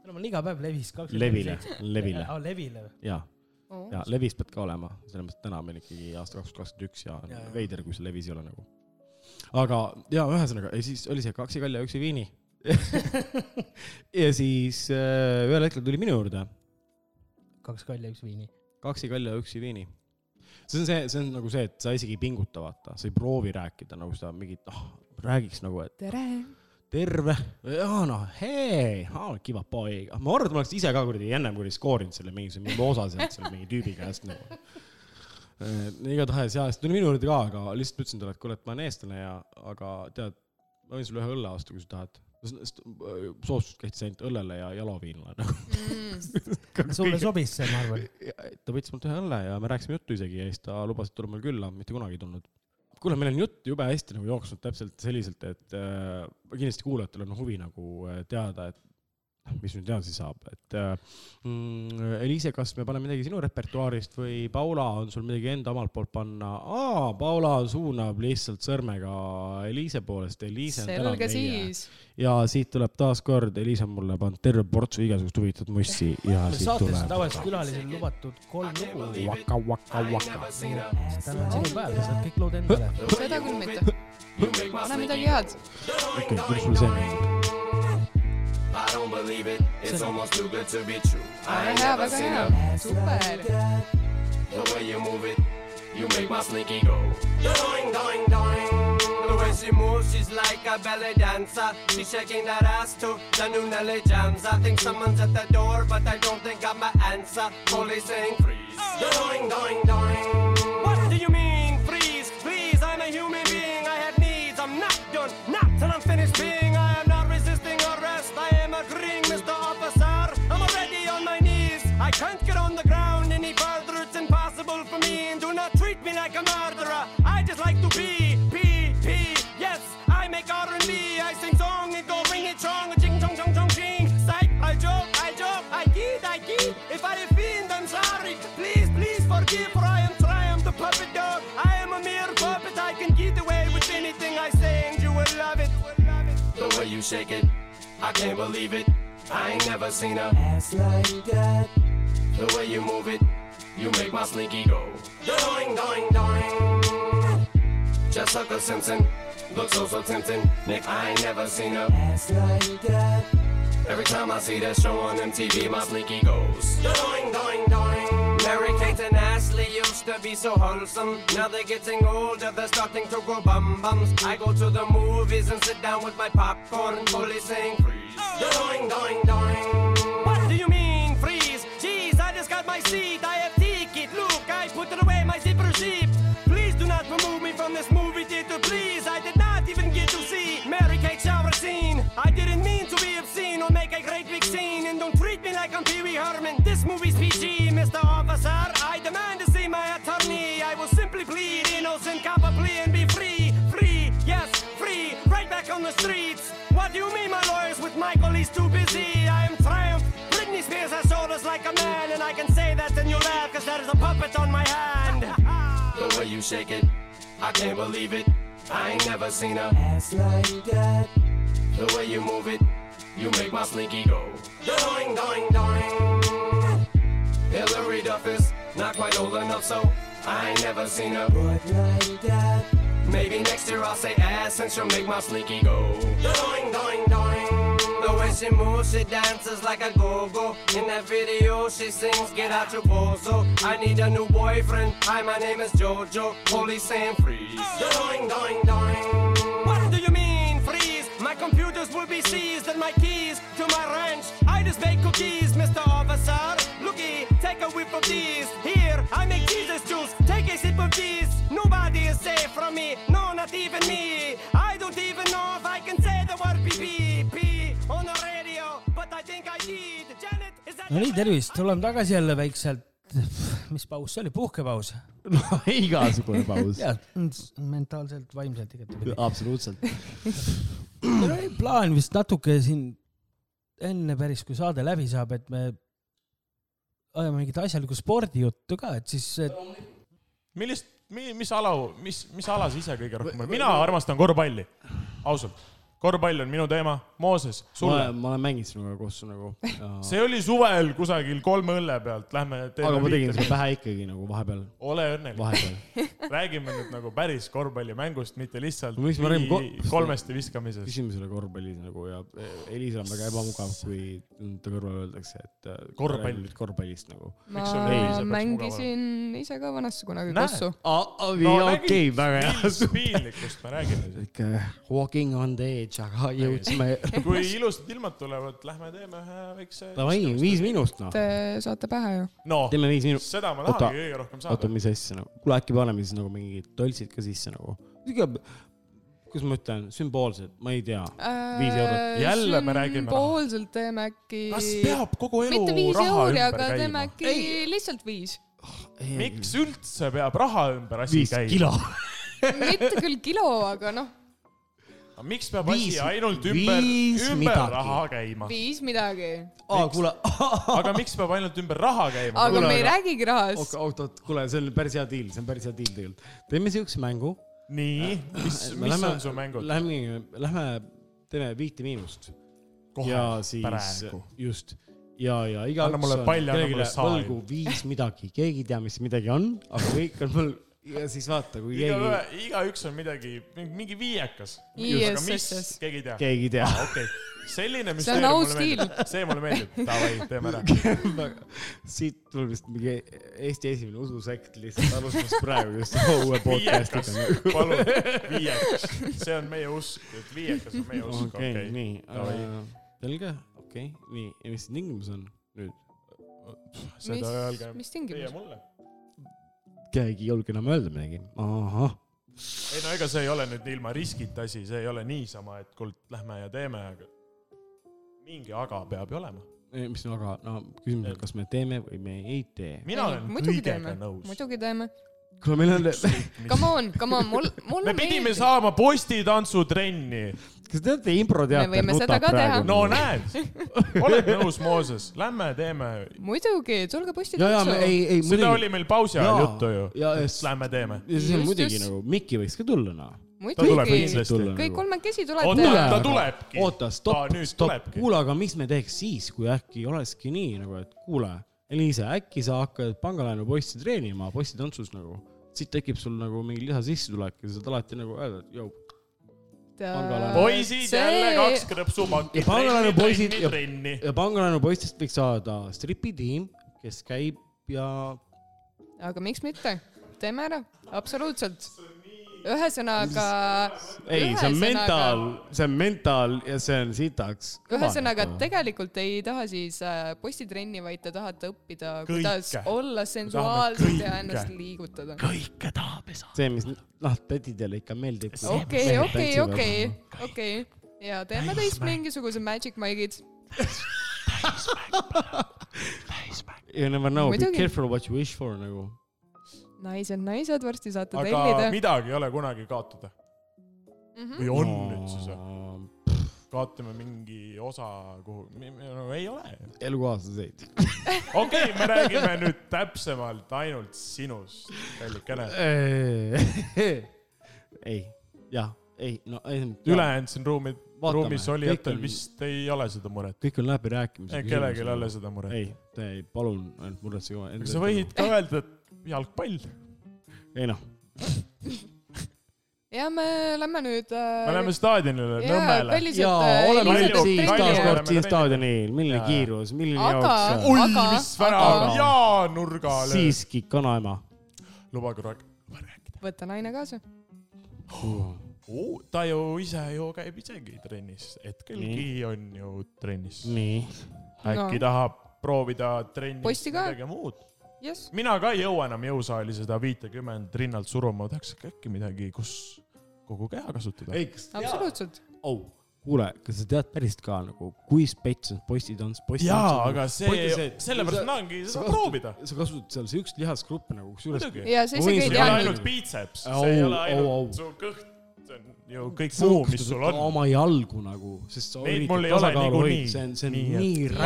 Speaker 6: ma olen iga päev Levis .
Speaker 5: *laughs* levile , levile
Speaker 6: aa , Levile .
Speaker 5: ja , ja levis pead ka olema , selles mõttes , et täna on meil ikkagi aasta kaks tuhat kakskümmend üks ja
Speaker 6: Ja, ja.
Speaker 5: veider , kui see levis ei ole nagu . aga ja ühesõnaga , siis oli see kaks kalja , üks viini . *laughs* ja siis äh, ühel hetkel tuli minu juurde
Speaker 6: kaks kalja , üks viini .
Speaker 5: kaksi kalja ja üksi viini . see on see , see on nagu see , et sa isegi ei pinguta , vaata , sa ei proovi rääkida nagu seda mingit , noh , räägiks nagu , et
Speaker 8: tere .
Speaker 5: terve , jaa noh , hei , kiva boy . ma arvan , et ma oleks ise ka kuradi ennem kuradi skoorinud selle mingisuguse mingi osa sealt selle mingi tüübi käest nagu . igatahes jaa , siis tuli minu juurde ka , aga lihtsalt ütlesin talle , et kuule , et ma olen eestlane ja , aga tead , ma võin sulle ühe õlle osta , kui sa tahad . soostus kehtis ainult õllele ja jaloviinile nagu . *laughs*
Speaker 6: sulle sobis see , ma arvan .
Speaker 5: Ja ta võttis mult ühe õlle ja me rääkisime juttu isegi ja siis ta lubas , et tuleb meil külla , mitte kunagi ei tulnud . kuule , meil on jutt jube hästi nagu jooksnud täpselt selliselt , et äh, kindlasti kuulajatel on huvi nagu äh, teada , et noh, mis nüüd edasi saab , et äh, mm, Eliise , kas me paneme midagi sinu repertuaarist või Paula , on sul midagi enda omalt poolt panna ? aa , Paula suunab lihtsalt sõrmega Eliise poolest , Eliise on täna
Speaker 8: selge
Speaker 5: meie .
Speaker 8: siis .
Speaker 5: ja siit tuleb taaskord , Eliise on mulle pannud terve portsu igasugust huvitavat mussi ja siit
Speaker 6: saates on
Speaker 5: tuleb .
Speaker 6: tavaliselt külalisel lubatud kolm lugu .
Speaker 5: Waka waka waka .
Speaker 6: täna on sinu päev , sa saad kõik lood endale .
Speaker 8: seda küll mitte . pane midagi head .
Speaker 5: okei , kuidas sul see meeldib ?
Speaker 8: väga hea , väga hea . super .
Speaker 10: What do you mean, freeze? Please, I'm a human being. I have needs. I'm not done. Not till I'm finished being. I am not resisting arrest. I am agreeing, Mr. Officer. I'm already on my knees. I can't get on the ground any further. It's impossible for me. And do not treat me like a murderer. I just like to be. P, P. Yes, I make R&B. I sing song and go ring it strong. Ching, chong, chong, chong, ching. Psych, I joke, I joke. I kid, I kid. If I offend, I'm sorry. Please, please forgive, for I am trying. I am the puppet dog. I am a mere puppet. I can get away with anything I say, and you will love it. The way you shake it, I can't believe it. I ain't never seen a ass like that. The way you move it, you make my slinky go. Doing, doing, doing. Jessica Simpson looks so so tempting. Nick, I ain't never seen a ass like that. Every time I see that show on MTV, my slinky goes. Doing, doing, doing. Mary Kate and Ashley used to be so wholesome. Now they're getting older, they're starting to grow bum bums. I go to the movies and sit down with my popcorn, fully saying freeze. Doing, doing, doing. What do you mean freeze? Jeez, I just got my seat. I have ticket. Look, I put it away my zipper sheep. Please do not remove me from this movie theater, please. I did not even get to see Mary Kate shower scene. I didn't mean to be obscene or make a great big scene. And don't treat me like I'm Pee Wee Herman. This movie's PG, Mr. Officer. I demand to see my attorney. I will simply plead innocent, cop a plea, busy, I am triumphed. Britney Spears has shoulders like a man, and I can say that and you'll laugh, cause that is a puppet on my hand. *laughs* the way you shake it, I can't believe it. I ain't never seen a ass like that. The way you move it, you make my slinky go. Doing, doing, doing. Hillary Duff is not quite old enough, so I ain't never seen a butt like that. Maybe next year I'll say ass and she'll make my slinky go. Doing, doing, doing. The way she moves, she dances like a go-go. In that video, she sings, get out your bozo. I need a new boyfriend. Hi, my name is Jojo. Holy Sam Freeze. Doing, doing, doing. What do you mean, freeze? My computers will be seized and my keys to my ranch. I just bake cookies, Mr. Officer. Looky, take a whiff of these. Here, I make Jesus juice. Take a sip of this. Nobody is safe from me. No, not even me. I don't even know if I can say the word PPP on the radio, but I think I did. Janet, is that
Speaker 6: no nii , tervist , tuleme tagasi jälle väikselt , mis paus see oli , *laughs* puhkepaus ?
Speaker 5: igasugune *laughs* paus .
Speaker 6: jaa , mentaalselt , vaimselt igatepidi .
Speaker 5: absoluutselt .
Speaker 6: meil oli plaan vist natuke siin enne päris , kui saade läbi saab , et me ajame mingit asjalikku spordijuttu ka , et siis ,
Speaker 7: millist , mis ala , mis , mis ala sa ise kõige rohkem , mina armastan korvpalli , ausalt . korvpall on minu teema , Mooses ,
Speaker 5: ma
Speaker 7: sulle .
Speaker 5: ma olen mänginud sinuga koos nagu .
Speaker 7: see oli suvel kusagil kolme õlle pealt , lähme teeme .
Speaker 5: aga ma tegin seda pähe ikkagi nagu vahepeal .
Speaker 7: ole õnnelik .
Speaker 5: vahepeal .
Speaker 7: räägime nüüd nagu päris korvpallimängust , mitte lihtsalt
Speaker 5: miks me räägime
Speaker 7: mingi kolmesti viskamisest .
Speaker 5: küsimus oli korvpallis nagu ja Elisal on väga ebamugav , kui ta kõrval öeldakse , et äh,
Speaker 7: Korvpall.
Speaker 5: räägime nüüd korvpallist nagu .
Speaker 8: ma mängisin ise ka vanasti kunagi
Speaker 7: Näed.
Speaker 8: kossu .
Speaker 5: okei , väga hea .
Speaker 7: piinlikkust me
Speaker 8: *laughs*
Speaker 7: räägime .
Speaker 5: ikka walking on the edge , aga jõudsime . *laughs*
Speaker 7: kui ilusad ilmad tulevad , lähme teeme ühe väikse .
Speaker 5: Davai , viis miinust noh .
Speaker 8: Te saate pähe ju .
Speaker 7: no
Speaker 5: teeme viis miinust .
Speaker 7: seda ma tahangi kõige rohkem
Speaker 5: oota ,
Speaker 7: saada .
Speaker 5: mis asja nagu , kuule äkki paneme siis nagu mingid toltsid ka sisse nagu . kuidas ma ütlen , sümboolsed , ma ei tea . viis eurot .
Speaker 7: Jälle me räägime raha.
Speaker 8: Äh, sümboolselt teeme äkki .
Speaker 7: kas peab kogu elu
Speaker 8: mitte viis
Speaker 7: raha
Speaker 8: euri ,
Speaker 7: ümber
Speaker 8: aga teeme
Speaker 7: käima ?
Speaker 8: äkki lihtsalt viis .
Speaker 7: miks üldse peab raha ümber asi
Speaker 5: viis
Speaker 7: käima ?
Speaker 5: kilo .
Speaker 8: mitte küll kilo , aga noh ,
Speaker 7: Ah. miks peab
Speaker 5: Viis-
Speaker 7: asi ainult ümber ,
Speaker 5: viis
Speaker 7: ümber
Speaker 5: midagi.
Speaker 7: raha käima ?
Speaker 8: viis midagi .
Speaker 5: aa , kuule ,
Speaker 7: aga miks peab ainult ümber raha käima ?
Speaker 8: aga
Speaker 5: Kuule,
Speaker 8: me ei
Speaker 5: aga-
Speaker 8: räägigi rahast .
Speaker 5: oot-oot , kuule , see on päris hea deal , see on päris hea deal tegelikult . teeme siukse mängu .
Speaker 7: nii , mis , mis on su mängud ?
Speaker 5: Lähme , lähme teeme viite miinust ja siis
Speaker 7: Oh, praegu .
Speaker 5: just ja , ja igaüks .
Speaker 7: Anna mulle palli, anna mulle saal.
Speaker 5: võlgu viis midagi , keegi ei tea , mis midagi on , aga kõik on mul ja siis vaata , kui
Speaker 7: igaühe
Speaker 5: keegi ,,
Speaker 7: igaüks on midagi , mingi viiekas .
Speaker 8: Yes,
Speaker 7: aga mis
Speaker 8: yes, yes. ,
Speaker 7: keegi ei tea .
Speaker 5: keegi ei tea .
Speaker 7: okei , selline
Speaker 8: See on
Speaker 7: müsteerium
Speaker 8: aus
Speaker 7: mulle meeldib , see mulle meeldib , davai , teeme ära .
Speaker 5: siit tuleb vist mingi Eesti esimene ususekt lihtsalt alustas praegu just oma *laughs* *laughs* uue
Speaker 7: viiekas
Speaker 5: podcast'iga .,
Speaker 7: palun , viiekas , see on meie usk , et viiekas on meie usk ,
Speaker 5: okei
Speaker 7: okei , okay. .
Speaker 5: nii
Speaker 7: Davai. ,
Speaker 5: selge , okei , nii , ja mis see tingimus on nüüd ?
Speaker 7: seda öelge
Speaker 8: mis
Speaker 7: teie
Speaker 8: tingimus ?
Speaker 7: mulle .
Speaker 5: keegi ei julge enam öelda midagi , ahah ,
Speaker 7: ei no ega see ei ole nüüd ilma riskita asi , see ei ole niisama , et kuule , lähme ja teeme , aga mingi aga peab ju olema .
Speaker 5: mis on aga , no küsimus on , kas me teeme või me ei tee .
Speaker 7: mina olen
Speaker 8: muidugi
Speaker 7: kõigega
Speaker 8: teeme ,
Speaker 7: nõus .
Speaker 8: muidugi teeme .
Speaker 5: kuule , meil on ,
Speaker 8: Come on , come on ,
Speaker 7: *laughs*
Speaker 8: mul , mulle
Speaker 7: me pidime saama postitantsutrenni .
Speaker 5: *laughs* kas te teate improteater
Speaker 8: Me võime seda
Speaker 5: nutab
Speaker 8: ka teha.
Speaker 5: praegu
Speaker 7: no .
Speaker 5: *laughs*
Speaker 7: näed , oled nõus , Mooses , lähme teeme .
Speaker 8: muidugi , tulge
Speaker 5: ja , ja
Speaker 8: postitantsu .
Speaker 5: ei , ei
Speaker 7: seda
Speaker 5: muidugi .
Speaker 7: oli meil pausi
Speaker 5: Jaa.
Speaker 7: ajal juttu ju .
Speaker 5: Jaa, just.
Speaker 7: Lähme teeme .
Speaker 5: ja siis on
Speaker 8: Just,
Speaker 5: muidugi
Speaker 8: just.
Speaker 5: nagu , Mikki võiks ka tulla , noh .
Speaker 7: ta tuleb
Speaker 8: muidugi ,
Speaker 7: kindlasti .
Speaker 8: kõik kolmekesi
Speaker 7: Oota.
Speaker 8: tulete .
Speaker 7: ta tulebki.
Speaker 5: oota ,
Speaker 7: Aa,
Speaker 5: stopp
Speaker 7: nüüd ,
Speaker 5: stopp ,
Speaker 7: tulebki.
Speaker 5: kuule , aga mis me teeks siis , kui äkki olekski nii nagu , et kuule , Eliise , äkki sa hakkad pangalaenu poissi treenima poissitantsus nagu , siit tekib sul nagu mingi lisasissetulek ja sa saad alati nagu öelda , et jõu . pangalaen.
Speaker 7: poisid see... jälle kaks . krõpsupakki .
Speaker 5: ja pangalaenu poisid ja,
Speaker 7: trenni , trenni .
Speaker 5: ja pangalaenu poistest võiks saada stripitiim , kes käib ja
Speaker 8: aga miks mitte , teeme ära , absoluutselt . ühesõnaga .
Speaker 5: ei , see on mentaal , see on mentaal ja see on sitaks .
Speaker 8: ühesõnaga , tegelikult ei taha siis äh, postitrenni , vaid te tahate õppida , kuidas
Speaker 7: Kõike.
Speaker 8: olla sensuaalselt ja ennast liigutada .
Speaker 7: kõike tahab ja saab .
Speaker 5: see , mis noh , tädidele ikka meeldib . noh.
Speaker 8: okei , okei , okei , okei ja teeme teist mingisuguse Magic Mike'id .
Speaker 5: You never know , be
Speaker 8: Muidugi.
Speaker 5: careful what you wish for nagu .
Speaker 8: naised , naised , varsti saate
Speaker 7: aga
Speaker 8: tellida . Mhm.
Speaker 7: midagi ei ole kunagi kaotada . või on nüüd siis või ? kaotame mingi osa kuhugi , no ei ole .
Speaker 5: elukaaslased .
Speaker 7: okei okay, , me räägime nüüd täpsemalt ainult sinust , kallikene .
Speaker 5: Äh. *laughs* ei , jah , ei , no ei .
Speaker 7: ülejäänud siin ruumi , ruumis olijatel vist ei ole seda muret .
Speaker 5: kõik on läbirääkimised .
Speaker 7: Ei, kellelgi ei ole seda muret.
Speaker 5: ei , ei , palun ainult muretsege .
Speaker 7: aga sa võid
Speaker 8: Eh.
Speaker 7: ka öelda , et jalgpall .
Speaker 5: ei noh ,
Speaker 8: ja me lähme nüüd . äh,
Speaker 7: me läheme staadionile ,
Speaker 8: Jaa,
Speaker 7: Nõmmele .
Speaker 8: Päliselt,
Speaker 5: jaa ,
Speaker 8: äh,
Speaker 5: oleme
Speaker 8: Elizabeth
Speaker 5: nüüd siin
Speaker 7: Taylor.
Speaker 5: taas kord siin
Speaker 7: Elizabeth
Speaker 5: staadionil , milline
Speaker 7: Jaa.
Speaker 5: kiirus , milline
Speaker 8: Aga-
Speaker 5: jooks .
Speaker 7: oi ,
Speaker 8: Aga-
Speaker 7: mis värav
Speaker 5: aga-
Speaker 7: jaa , nurga lööb .
Speaker 5: siiski kanaema .
Speaker 7: luba korra , luba
Speaker 8: võta naine kaasa .
Speaker 7: rääkida . ta ju ise ju käib isegi trennis , hetkelgi on ju trennis .
Speaker 5: nii ,
Speaker 7: äkki
Speaker 8: No.
Speaker 7: tahab proovida trennis
Speaker 8: Poisti ka?
Speaker 7: midagi muud .
Speaker 8: jess .
Speaker 7: mina ka ei jõua enam jõusaali seda viitekümmend rinnalt suruma , ma tahaks ikka äkki midagi , kus kogu keha kasutada .
Speaker 5: ei , kas ,
Speaker 8: absoluutselt .
Speaker 5: kuule , kas sa tead päriselt ka nagu , kui spets on postitants ,
Speaker 7: jaa ,
Speaker 5: postitants .
Speaker 7: aga see , sellepärast ma tahangi seda proovida .
Speaker 5: sa kasutad seal siukest lihasgruppi nagu kusjuures .
Speaker 7: muidugi .
Speaker 8: ja sa isegi
Speaker 5: Võin
Speaker 7: see
Speaker 8: ei
Speaker 7: ei ole
Speaker 8: tea .
Speaker 7: ainult biitseps , see ei
Speaker 5: Au,
Speaker 7: ole
Speaker 5: au, au.
Speaker 7: ainult su kõht , see on ju kõik muu , mis sul on .
Speaker 5: oma jalgu nagu , sest sa
Speaker 7: Neid
Speaker 5: üritad
Speaker 7: mul ei ole
Speaker 5: tasakaalu
Speaker 7: niikuinii.
Speaker 5: hoida. see on , see on
Speaker 7: Nii et-
Speaker 5: nii
Speaker 8: Yes.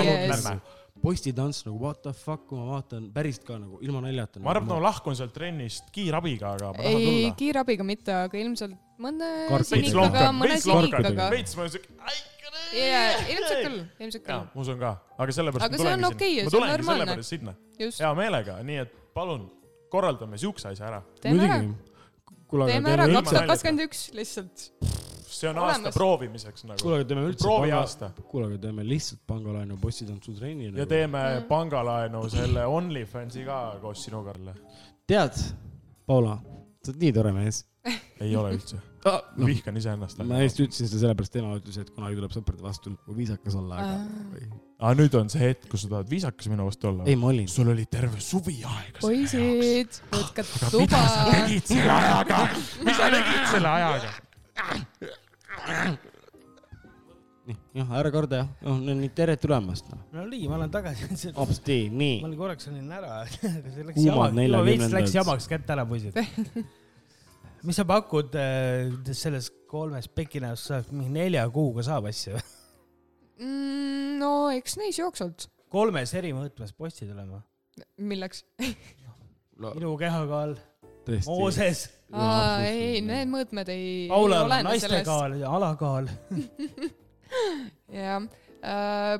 Speaker 5: räudne . postitants nagu what the fuck , kui ma vaatan päriselt ka nagu ilma naljata .
Speaker 7: ma arvan , et ma lahkun sealt trennist kiirabiga , aga ma tahan
Speaker 8: ei ,
Speaker 7: tulla .
Speaker 8: kiirabiga mitte , aga ilmselt mõne
Speaker 5: Karpid. Veits
Speaker 8: sinikaga ,
Speaker 7: lonkad,
Speaker 8: mõne
Speaker 7: veits lonkad.
Speaker 8: sinikaga .
Speaker 7: veits ma olen siuke , ai ,
Speaker 8: jaa , ilmselt küll , ilmselt
Speaker 7: jaa
Speaker 8: küll .,
Speaker 7: ma usun ka , aga sellepärast
Speaker 8: Aga
Speaker 7: ma
Speaker 8: see on
Speaker 7: tulengi
Speaker 8: okei ja
Speaker 7: sinna . ma
Speaker 8: see on
Speaker 7: tulengi
Speaker 8: normaalne.
Speaker 7: sellepärast sinna ,
Speaker 8: just ,
Speaker 7: hea meelega , nii et palun , korraldame siukse asja ära .
Speaker 8: teeme ära ,
Speaker 5: kuule ,
Speaker 8: teeme ära
Speaker 7: ilma
Speaker 8: kaks tuhat
Speaker 7: naljata.
Speaker 8: kakskümmend üks lihtsalt .
Speaker 7: see on
Speaker 8: Olemas.
Speaker 7: aasta proovimiseks nagu .
Speaker 5: kuule , aga teeme üldse .
Speaker 7: proovi aasta
Speaker 5: kuule , aga teeme lihtsalt pangalaenu postitantsu trenni . nagu.
Speaker 7: ja teeme pangalaenu selle OnlyFansi ka koos sinuga , Arle .
Speaker 5: tead , Paula , sa oled nii tore mees .
Speaker 7: ei ole üldse ,
Speaker 5: No,
Speaker 7: vihkan iseennast .
Speaker 5: ma just ütlesin seda sellepärast , tema ütles , et kunagi tuleb sõprade vastu tulgu viisakas olla , aga .
Speaker 7: aga nüüd on see hetk , kus sa tahad viisakas minu vastu olla
Speaker 5: ei ,. ma olin .
Speaker 7: sul oli terve suvi aega .
Speaker 8: poisid , võtke tuba .
Speaker 7: tegid selle ajaga , mis sa tegid selle ajaga ?
Speaker 5: jah , ära karda jah , noh , nii tere tulemast , noh .
Speaker 6: no nii , ma olen tagasi .
Speaker 5: hopsti , nii
Speaker 6: ma . olin korraks olin ära , *laughs* aga see läks
Speaker 5: Kuumad
Speaker 6: jamaks , juba veits
Speaker 5: neljakümnendad.
Speaker 6: läks jamaks kätte ära , poisid . mis sa pakud äh, selles kolmes pekinäos , sa mingi nelja kuuga saab asju . *laughs*
Speaker 8: Mm, no eks neis jooksvalt .
Speaker 6: kolmes eri mõõtmes postid olema . *laughs*
Speaker 8: milleks ?
Speaker 6: minu kehakaal ,
Speaker 5: tõesti .
Speaker 6: mooses ,
Speaker 8: ei , need mõõtmed ei .
Speaker 6: Paulal on naiste . kaal ja alakaal .
Speaker 8: jah ,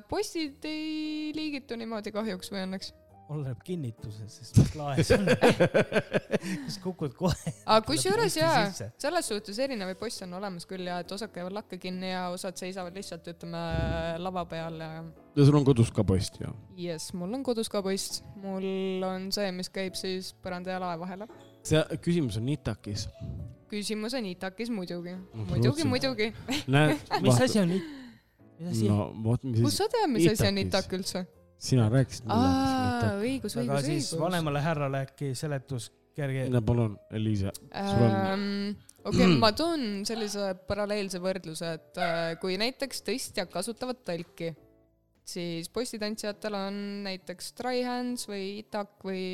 Speaker 8: postid ei liigitu niimoodi kahjuks või õnneks .
Speaker 6: oleneb kinnituses , sest mis laes
Speaker 5: *laughs*
Speaker 6: on . kas kukud kohe ?
Speaker 8: aga kusjuures
Speaker 6: posti
Speaker 8: jaa
Speaker 6: sisse. ,
Speaker 8: selles suhtes erinevaid posse on olemas küll ja et osad käivad lakke kinni ja osad seisavad lihtsalt ütleme lava peal ja
Speaker 5: ja sul on kodus ka post ju .
Speaker 8: jess , mul on kodus ka post , mul on see , mis käib siis põranda ja lae vahele .
Speaker 5: see küsimus on nitakis .
Speaker 8: küsimus on ITAK-is muidugi , muidugi ,
Speaker 5: absoluutselt.
Speaker 8: muidugi .
Speaker 5: näed ,
Speaker 6: mis asi on ? mis asi on ?
Speaker 5: no vot , mis
Speaker 8: kust
Speaker 5: asi ,
Speaker 8: sa tead , mis asi on
Speaker 5: ITAK-is?
Speaker 8: ITAK üldse ?
Speaker 5: sina rääkisid mulle .
Speaker 8: õigus ,
Speaker 6: aga siis
Speaker 8: õigus , õigus .
Speaker 6: vanemale härrale äkki seletus
Speaker 11: Eh,
Speaker 6: kerge .
Speaker 5: no palun , Eliise . sul on-
Speaker 8: Ehm, okei , ma toon sellise paralleelse võrdluse , et äh, kui näiteks tõstjad kasutavad tõlki , siis postitantsijatel on näiteks Tryhands või ITAK või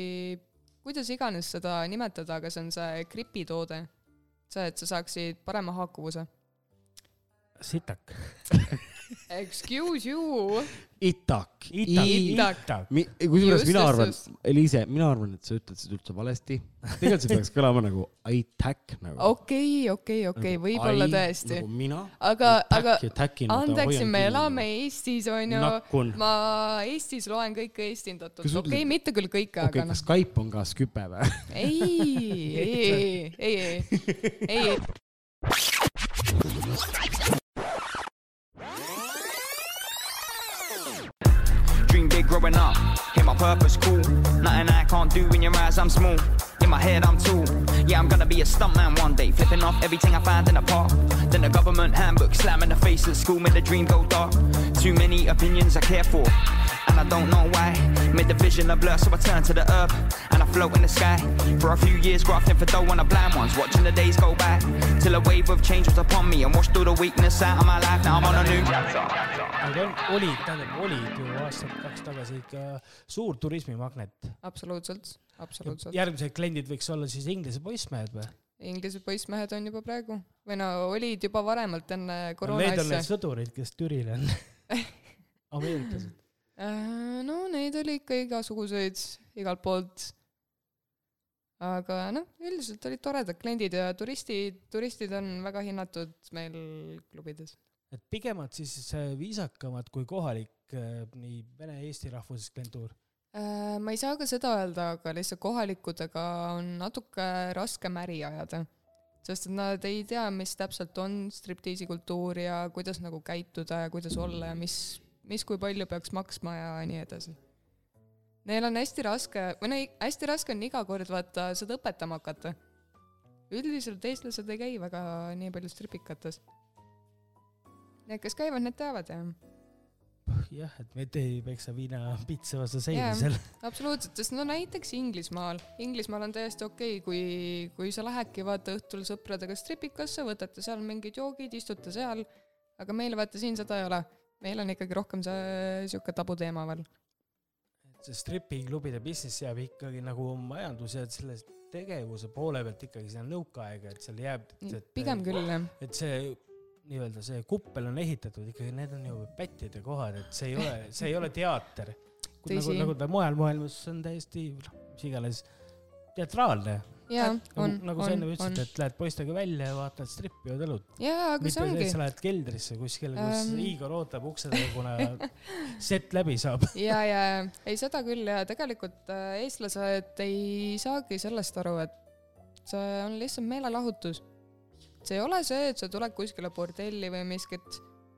Speaker 8: kuidas iganes seda nimetada , aga see on see gripitoode . see , et sa saaksid parema haakuvuse .
Speaker 6: sitak .
Speaker 8: Excuse you .
Speaker 5: itak .
Speaker 8: Itak.
Speaker 6: itak .
Speaker 5: Mi- , kusjuures
Speaker 8: Just,
Speaker 5: mina
Speaker 8: just,
Speaker 5: arvan
Speaker 8: just. ,
Speaker 5: Eliise , mina arvan , et sa ütled seda üldse valesti . tegelikult see peaks kõlama nagu itak nagu .
Speaker 8: okei , okei , okei , võib-olla tõesti .
Speaker 5: nagu mina .
Speaker 8: aga , aga andeks , me elame Eestis , onju .
Speaker 5: nakun .
Speaker 8: ma Eestis loen kõike eestindatult ,
Speaker 5: Kas sa
Speaker 8: okei
Speaker 5: ütled-
Speaker 8: okay, , mitte küll kõike okay, ,
Speaker 5: okei ,
Speaker 8: aga noh ,
Speaker 5: kas Skype on ka Skype või ?
Speaker 8: ei , ei , ei , ei , ei , ei , ei ,
Speaker 12: Dream big growing up, hit my purpose cool. Nothing I can't do in your eyes, I'm small. In my head, I'm tall. Yeah, I'm gonna be a stuntman one day, flipping off everything I find in the park. Then the government handbook, slamming the face at school, made the dream go dark. Too many opinions I care for, and I don't know why. Made the vision a blur, so I turn to the herb, and I float in the sky. For a few years, grafting for dough on the blind ones, watching the days go by. Till a wave of change was upon me, and washed all the weakness out of my life. Now I'm on a new chapter.
Speaker 6: aga on- olid , tähendab olid ju aastat kaks tagasi ikka suur turismimagnet .
Speaker 8: absoluutselt , absoluutselt .
Speaker 6: järgmised kliendid võiks olla siis Inglise poissmehed või ?
Speaker 8: Inglise poissmehed on juba praegu või no olid juba varemalt enne koroona
Speaker 6: Need on need
Speaker 8: asja .
Speaker 6: sõdurid , kes Türil
Speaker 8: *laughs*
Speaker 6: on . ameeriklased .
Speaker 8: Äh, no neid oli ikka igasuguseid igalt poolt . aga noh , üldiselt olid toredad kliendid ja turistid , turistid on väga hinnatud meil klubides .
Speaker 6: et pigem on siis äh, viisakamad kui kohalik äh, nii vene-eesti rahvusest klientuur .
Speaker 8: Äh, ma ei saa ka seda öelda , aga lihtsalt kohalikudega on natuke raskem äri ajada , sest et nad ei tea , mis täpselt on striptiisi kultuur ja kuidas nagu käituda ja kuidas olla ja mis , mis kui palju peaks maksma ja nii edasi . Neil on hästi raske , või no ei- hästi raske on iga kord vaata seda õpetama hakata . üldiselt eestlased ei käi väga nii palju stripikates . Need , kes käivad , need teavad jah
Speaker 6: jah , et me ei peksa viina pitsa vastu seina
Speaker 8: Jaa,
Speaker 6: seal .
Speaker 8: absoluutselt , sest no näiteks Inglismaal , Inglismaal on täiesti okei okay, , kui , kui sa lähedki vaata õhtul sõpradega stripikasse , võtate seal mingid joogid , istute seal , aga meil vaata siin seda ei ole . meil on ikkagi rohkem see sihuke tabuteema veel .
Speaker 6: see stripiklubide business jääb ikkagi nagu majanduse ja selle tegevuse poole pealt ikkagi sinna nõukaaega , et seal jääb .
Speaker 8: pigem küll, jah. .
Speaker 6: et see nii-öelda see kuppel on ehitatud ikkagi , need on ju pättide kohad , et see ei ole , see ei ole teater . nagu ,
Speaker 8: Tõsi.
Speaker 6: nagu ta mujal maailmas on täiesti , noh , mis iganes , teatraalne .
Speaker 8: Jaa,
Speaker 6: nagu,
Speaker 8: on,
Speaker 6: nagu sa
Speaker 8: on,
Speaker 6: enne
Speaker 8: on.
Speaker 6: ütlesid , et lähed poistega välja ja vaatad strippi ja õlut .
Speaker 8: Jaa, aga see ongi-
Speaker 6: sa lähed keldrisse kuskile , kus
Speaker 8: Ähm.
Speaker 6: Igor ootab ukse taga ,
Speaker 8: *laughs*
Speaker 6: kuna set läbi saab .
Speaker 8: ja , ja , ei seda küll ja tegelikult äh, eestlased ei saagi sellest aru , et see on lihtsalt meelelahutus . see ei ole see , et sa tuled kuskile bordelli või miskit ,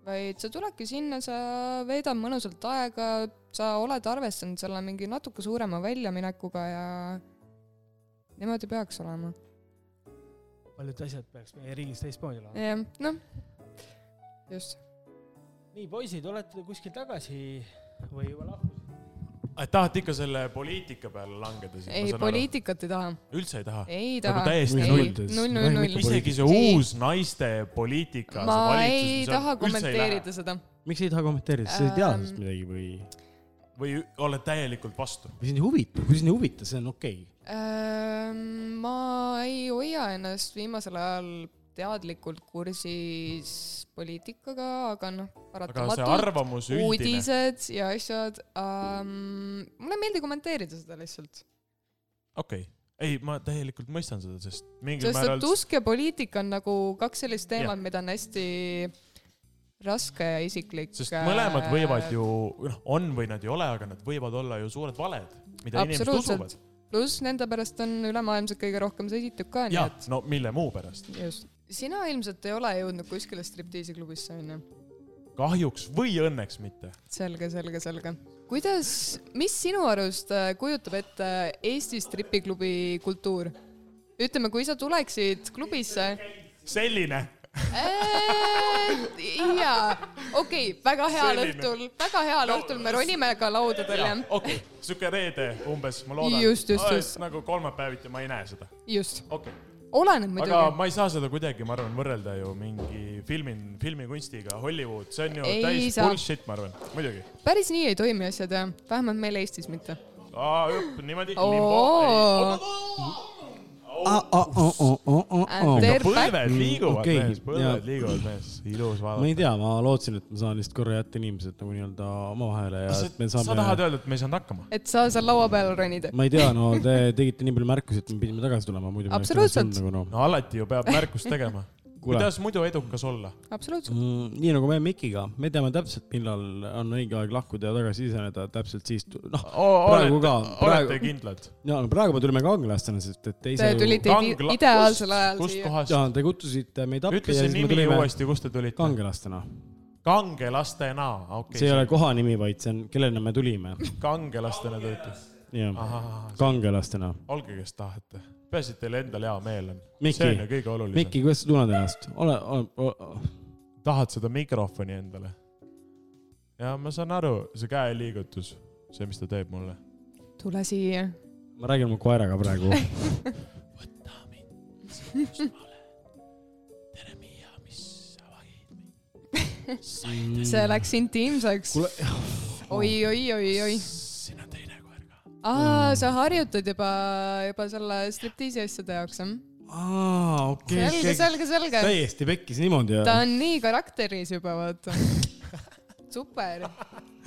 Speaker 8: vaid sa tuledki sinna , sa veedad mõnusalt aega , sa oled arvestanud selle mingi natuke suurema väljaminekuga ja niimoodi peaks olema .
Speaker 6: paljud asjad peaks meie riigis teistmoodi olema .
Speaker 8: jah , noh , just .
Speaker 6: nii , poisid , olete te kuskil tagasi või juba lahkusite ?
Speaker 7: tahad ikka selle poliitika peale langeda siis ?
Speaker 8: ei , poliitikat ei taha .
Speaker 7: üldse ei taha ?
Speaker 8: Ei taha.
Speaker 7: nagu täiesti
Speaker 8: Ei,
Speaker 7: null
Speaker 8: null, . null, null, null.
Speaker 7: isegi see
Speaker 8: Ei.
Speaker 7: uus naiste poliitika .
Speaker 8: ma ei taha kommenteerida seda .
Speaker 11: *laughs* miks ei taha kommenteerida , sa ei tea
Speaker 8: Ähm.
Speaker 11: sellest midagi või ?
Speaker 7: või oled täielikult vastu ?
Speaker 11: või sind ei huvita , kui sind ei huvita , see on okei okay. .
Speaker 8: Ähm, ma ei hoia ennast viimasel ajal teadlikult kursis poliitikaga , aga noh ,
Speaker 7: arvamus üldine.
Speaker 8: uudised ja asjad ähm, . mulle ei meeldi kommenteerida seda lihtsalt ,
Speaker 7: okei okay. , ei , ma täielikult mõistan seda , sest mingil
Speaker 8: sest
Speaker 7: määral
Speaker 8: et . usk ja poliitika on nagu kaks sellist teemat
Speaker 7: Jah. ,
Speaker 8: mida on hästi raske ja isiklik . äh,
Speaker 7: sest mõlemad võivad ju , noh , on või nad ei ole , aga nad võivad olla ju suured valed , mida inimesed usuvad
Speaker 8: absoluutselt ., pluss nende pärast on ülemaailmselt kõige rohkem sõiditud ka , nii
Speaker 7: jah
Speaker 8: et ,
Speaker 7: no mille muu pärast .
Speaker 8: just . sina ilmselt ei ole jõudnud kuskile striptiisiklubisse , onju ?
Speaker 7: kahjuks või õnneks mitte .
Speaker 8: selge , selge , selge . kuidas , mis sinu arust äh, kujutab ette Eesti stripiklubi kultuur ? ütleme , kui sa tuleksid klubisse .
Speaker 7: selline .
Speaker 8: jaa , okei , väga heal
Speaker 7: Selline.
Speaker 8: õhtul , väga heal õhtul , me ronime ka laudadel , jah .
Speaker 7: okei , sihuke reede umbes , ma loodan .
Speaker 8: Just, just, just.
Speaker 7: nagu kolmapäeviti ma ei näe seda .
Speaker 8: just .
Speaker 7: okei
Speaker 8: oleneb
Speaker 7: aga
Speaker 8: muidugi .
Speaker 7: ma ei saa seda kuidagi , ma arvan , võrrelda ju mingi filmi , filmikunstiga Hollywood , see on ju
Speaker 8: Ei
Speaker 7: täis
Speaker 8: saa.
Speaker 7: bullshit , ma arvan , muidugi .
Speaker 8: päris nii ei toimi asjad , jah . vähemalt meil Eestis mitte .
Speaker 7: niimoodi .
Speaker 8: Äh,
Speaker 7: põlved liiguvad okay. mees , põlved liiguvad mees , ilus
Speaker 11: ma
Speaker 7: vaadata .
Speaker 11: ei tea , ma lootsin , et ma saan lihtsalt korra jätta inimesed nagu nii-öelda omavahele ja
Speaker 7: sa,
Speaker 11: et me
Speaker 7: sa
Speaker 11: saame .
Speaker 7: tahad öelda , et me ei saanud hakkama ?
Speaker 8: et sa seal laua peal ronid .
Speaker 11: ma ei tea , no te tegite nii palju märkusi , et me pidime tagasi tulema , muidu .
Speaker 8: Absoluutselt.
Speaker 11: no.
Speaker 7: no alati ju peab märkust *laughs* tegema . kuidas muidu edukas olla ?
Speaker 8: absoluutselt .
Speaker 11: mm, . nii nagu me Mikiga , me teame täpselt , millal on õige aeg lahkuda ja tagasi siseneda , täpselt siis , noh
Speaker 7: O-
Speaker 11: praegu
Speaker 7: olete-
Speaker 11: ka .
Speaker 7: olete kindlad? ?
Speaker 11: ja praegu me tulime kangelastena , sest et te ise
Speaker 8: Te tulite ide- Kangla- ideaalsel kus- ajal kus
Speaker 11: kus
Speaker 8: siia.
Speaker 11: kohast
Speaker 8: kohast? ?
Speaker 11: jaa , te kutsusite meid appi .
Speaker 7: Ütle see nimi uuesti,
Speaker 11: kust te tulite . kangelastena .
Speaker 7: kangelastena , okei
Speaker 11: see ei ole . kohanimi , vaid see on , kellena me tulime .
Speaker 7: kangelastena te ütlete ?
Speaker 11: jah , kangelastena .
Speaker 7: olge , kes tahate , peaasi , et teil endal hea meel on . see
Speaker 11: Miki
Speaker 7: on ju kõige , olulisem .
Speaker 11: Miki , kuidas sa tunned ennast ? ole , ole .
Speaker 7: tahad seda mikrofoni endale ? ja ma saan aru , see käeliigutus , see , mis ta teeb mulle .
Speaker 8: tule siia .
Speaker 11: ma räägin oma koeraga *laughs* praegu .
Speaker 8: see läks intiimseks . oi , oi , oi , oi . sina teine koer ka . aa , sa harjutad juba , juba selle striptiisi asjade jaoks , jah ?
Speaker 5: aa , okei .
Speaker 8: Selge, selge, selge.
Speaker 5: täiesti pekkis niimoodi ja .
Speaker 8: ta on nii karakteris juba , vaata . super .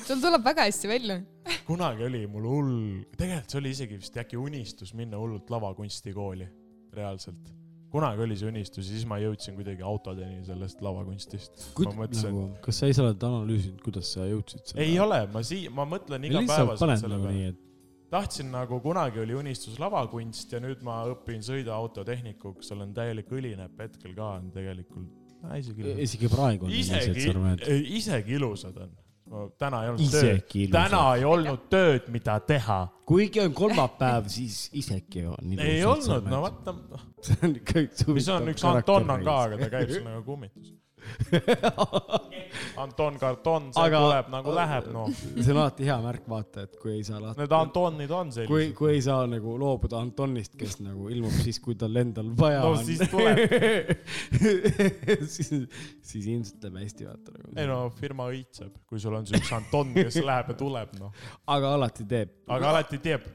Speaker 8: sul tuleb väga hästi välja .
Speaker 7: kunagi oli mul hull , tegelikult see oli isegi vist äkki unistus minna hullult lavakunstikooli , reaalselt . kunagi oli see unistus ja siis ma jõudsin kuidagi autodeni sellest lavakunstist . ma mõtlesin ,
Speaker 5: nagu, kas sa ise oled analüüsinud , kuidas sa jõudsid selle ?
Speaker 7: ei ole , ma sii- , ma mõtlen
Speaker 5: paned
Speaker 7: igapäevaselt selle
Speaker 5: nagu
Speaker 7: peale .
Speaker 5: nii , et
Speaker 7: tahtsin nagu kunagi oli unistus lavakunst ja nüüd ma õpin sõidautotehnikuks , olen täielik õlinäpp hetkel ka on tegelikult .
Speaker 5: e- Isegi praegu on
Speaker 7: isegi
Speaker 5: ilusad sõrmed. ,
Speaker 7: isegi ilusad on . täna ei olnud
Speaker 5: Isegi
Speaker 7: tööd ,
Speaker 5: ilusad.
Speaker 7: täna ei olnud tööd , mida teha .
Speaker 5: kuigi on kolmapäev , siis isegi on .
Speaker 7: ei olnud , no . vaata , noh ,
Speaker 5: *laughs* see on ikka üks huvitav .
Speaker 7: mis on üks Anton on ka , aga ta käib seal nagu kummitus . Anton Karton , see
Speaker 5: Aga-
Speaker 7: tuleb nagu läheb , noh .
Speaker 5: *laughs* see on alati hea märk , vaata , et kui ei saa lahti .
Speaker 7: Need Antonid on
Speaker 5: kui ,
Speaker 7: sellised .
Speaker 5: kui ei saa nagu loobuda Antonist , kes nagu ilmub siis , kui tal endal vaja
Speaker 7: No
Speaker 5: on .
Speaker 7: siis tuleb.
Speaker 5: *laughs* siis , siis ilmselt läheb hästi , vaata nagu .
Speaker 7: ei no firma õitseb , kui sul on see üks Anton , kes läheb ja tuleb , noh .
Speaker 5: aga alati teeb .
Speaker 7: aga alati teeb .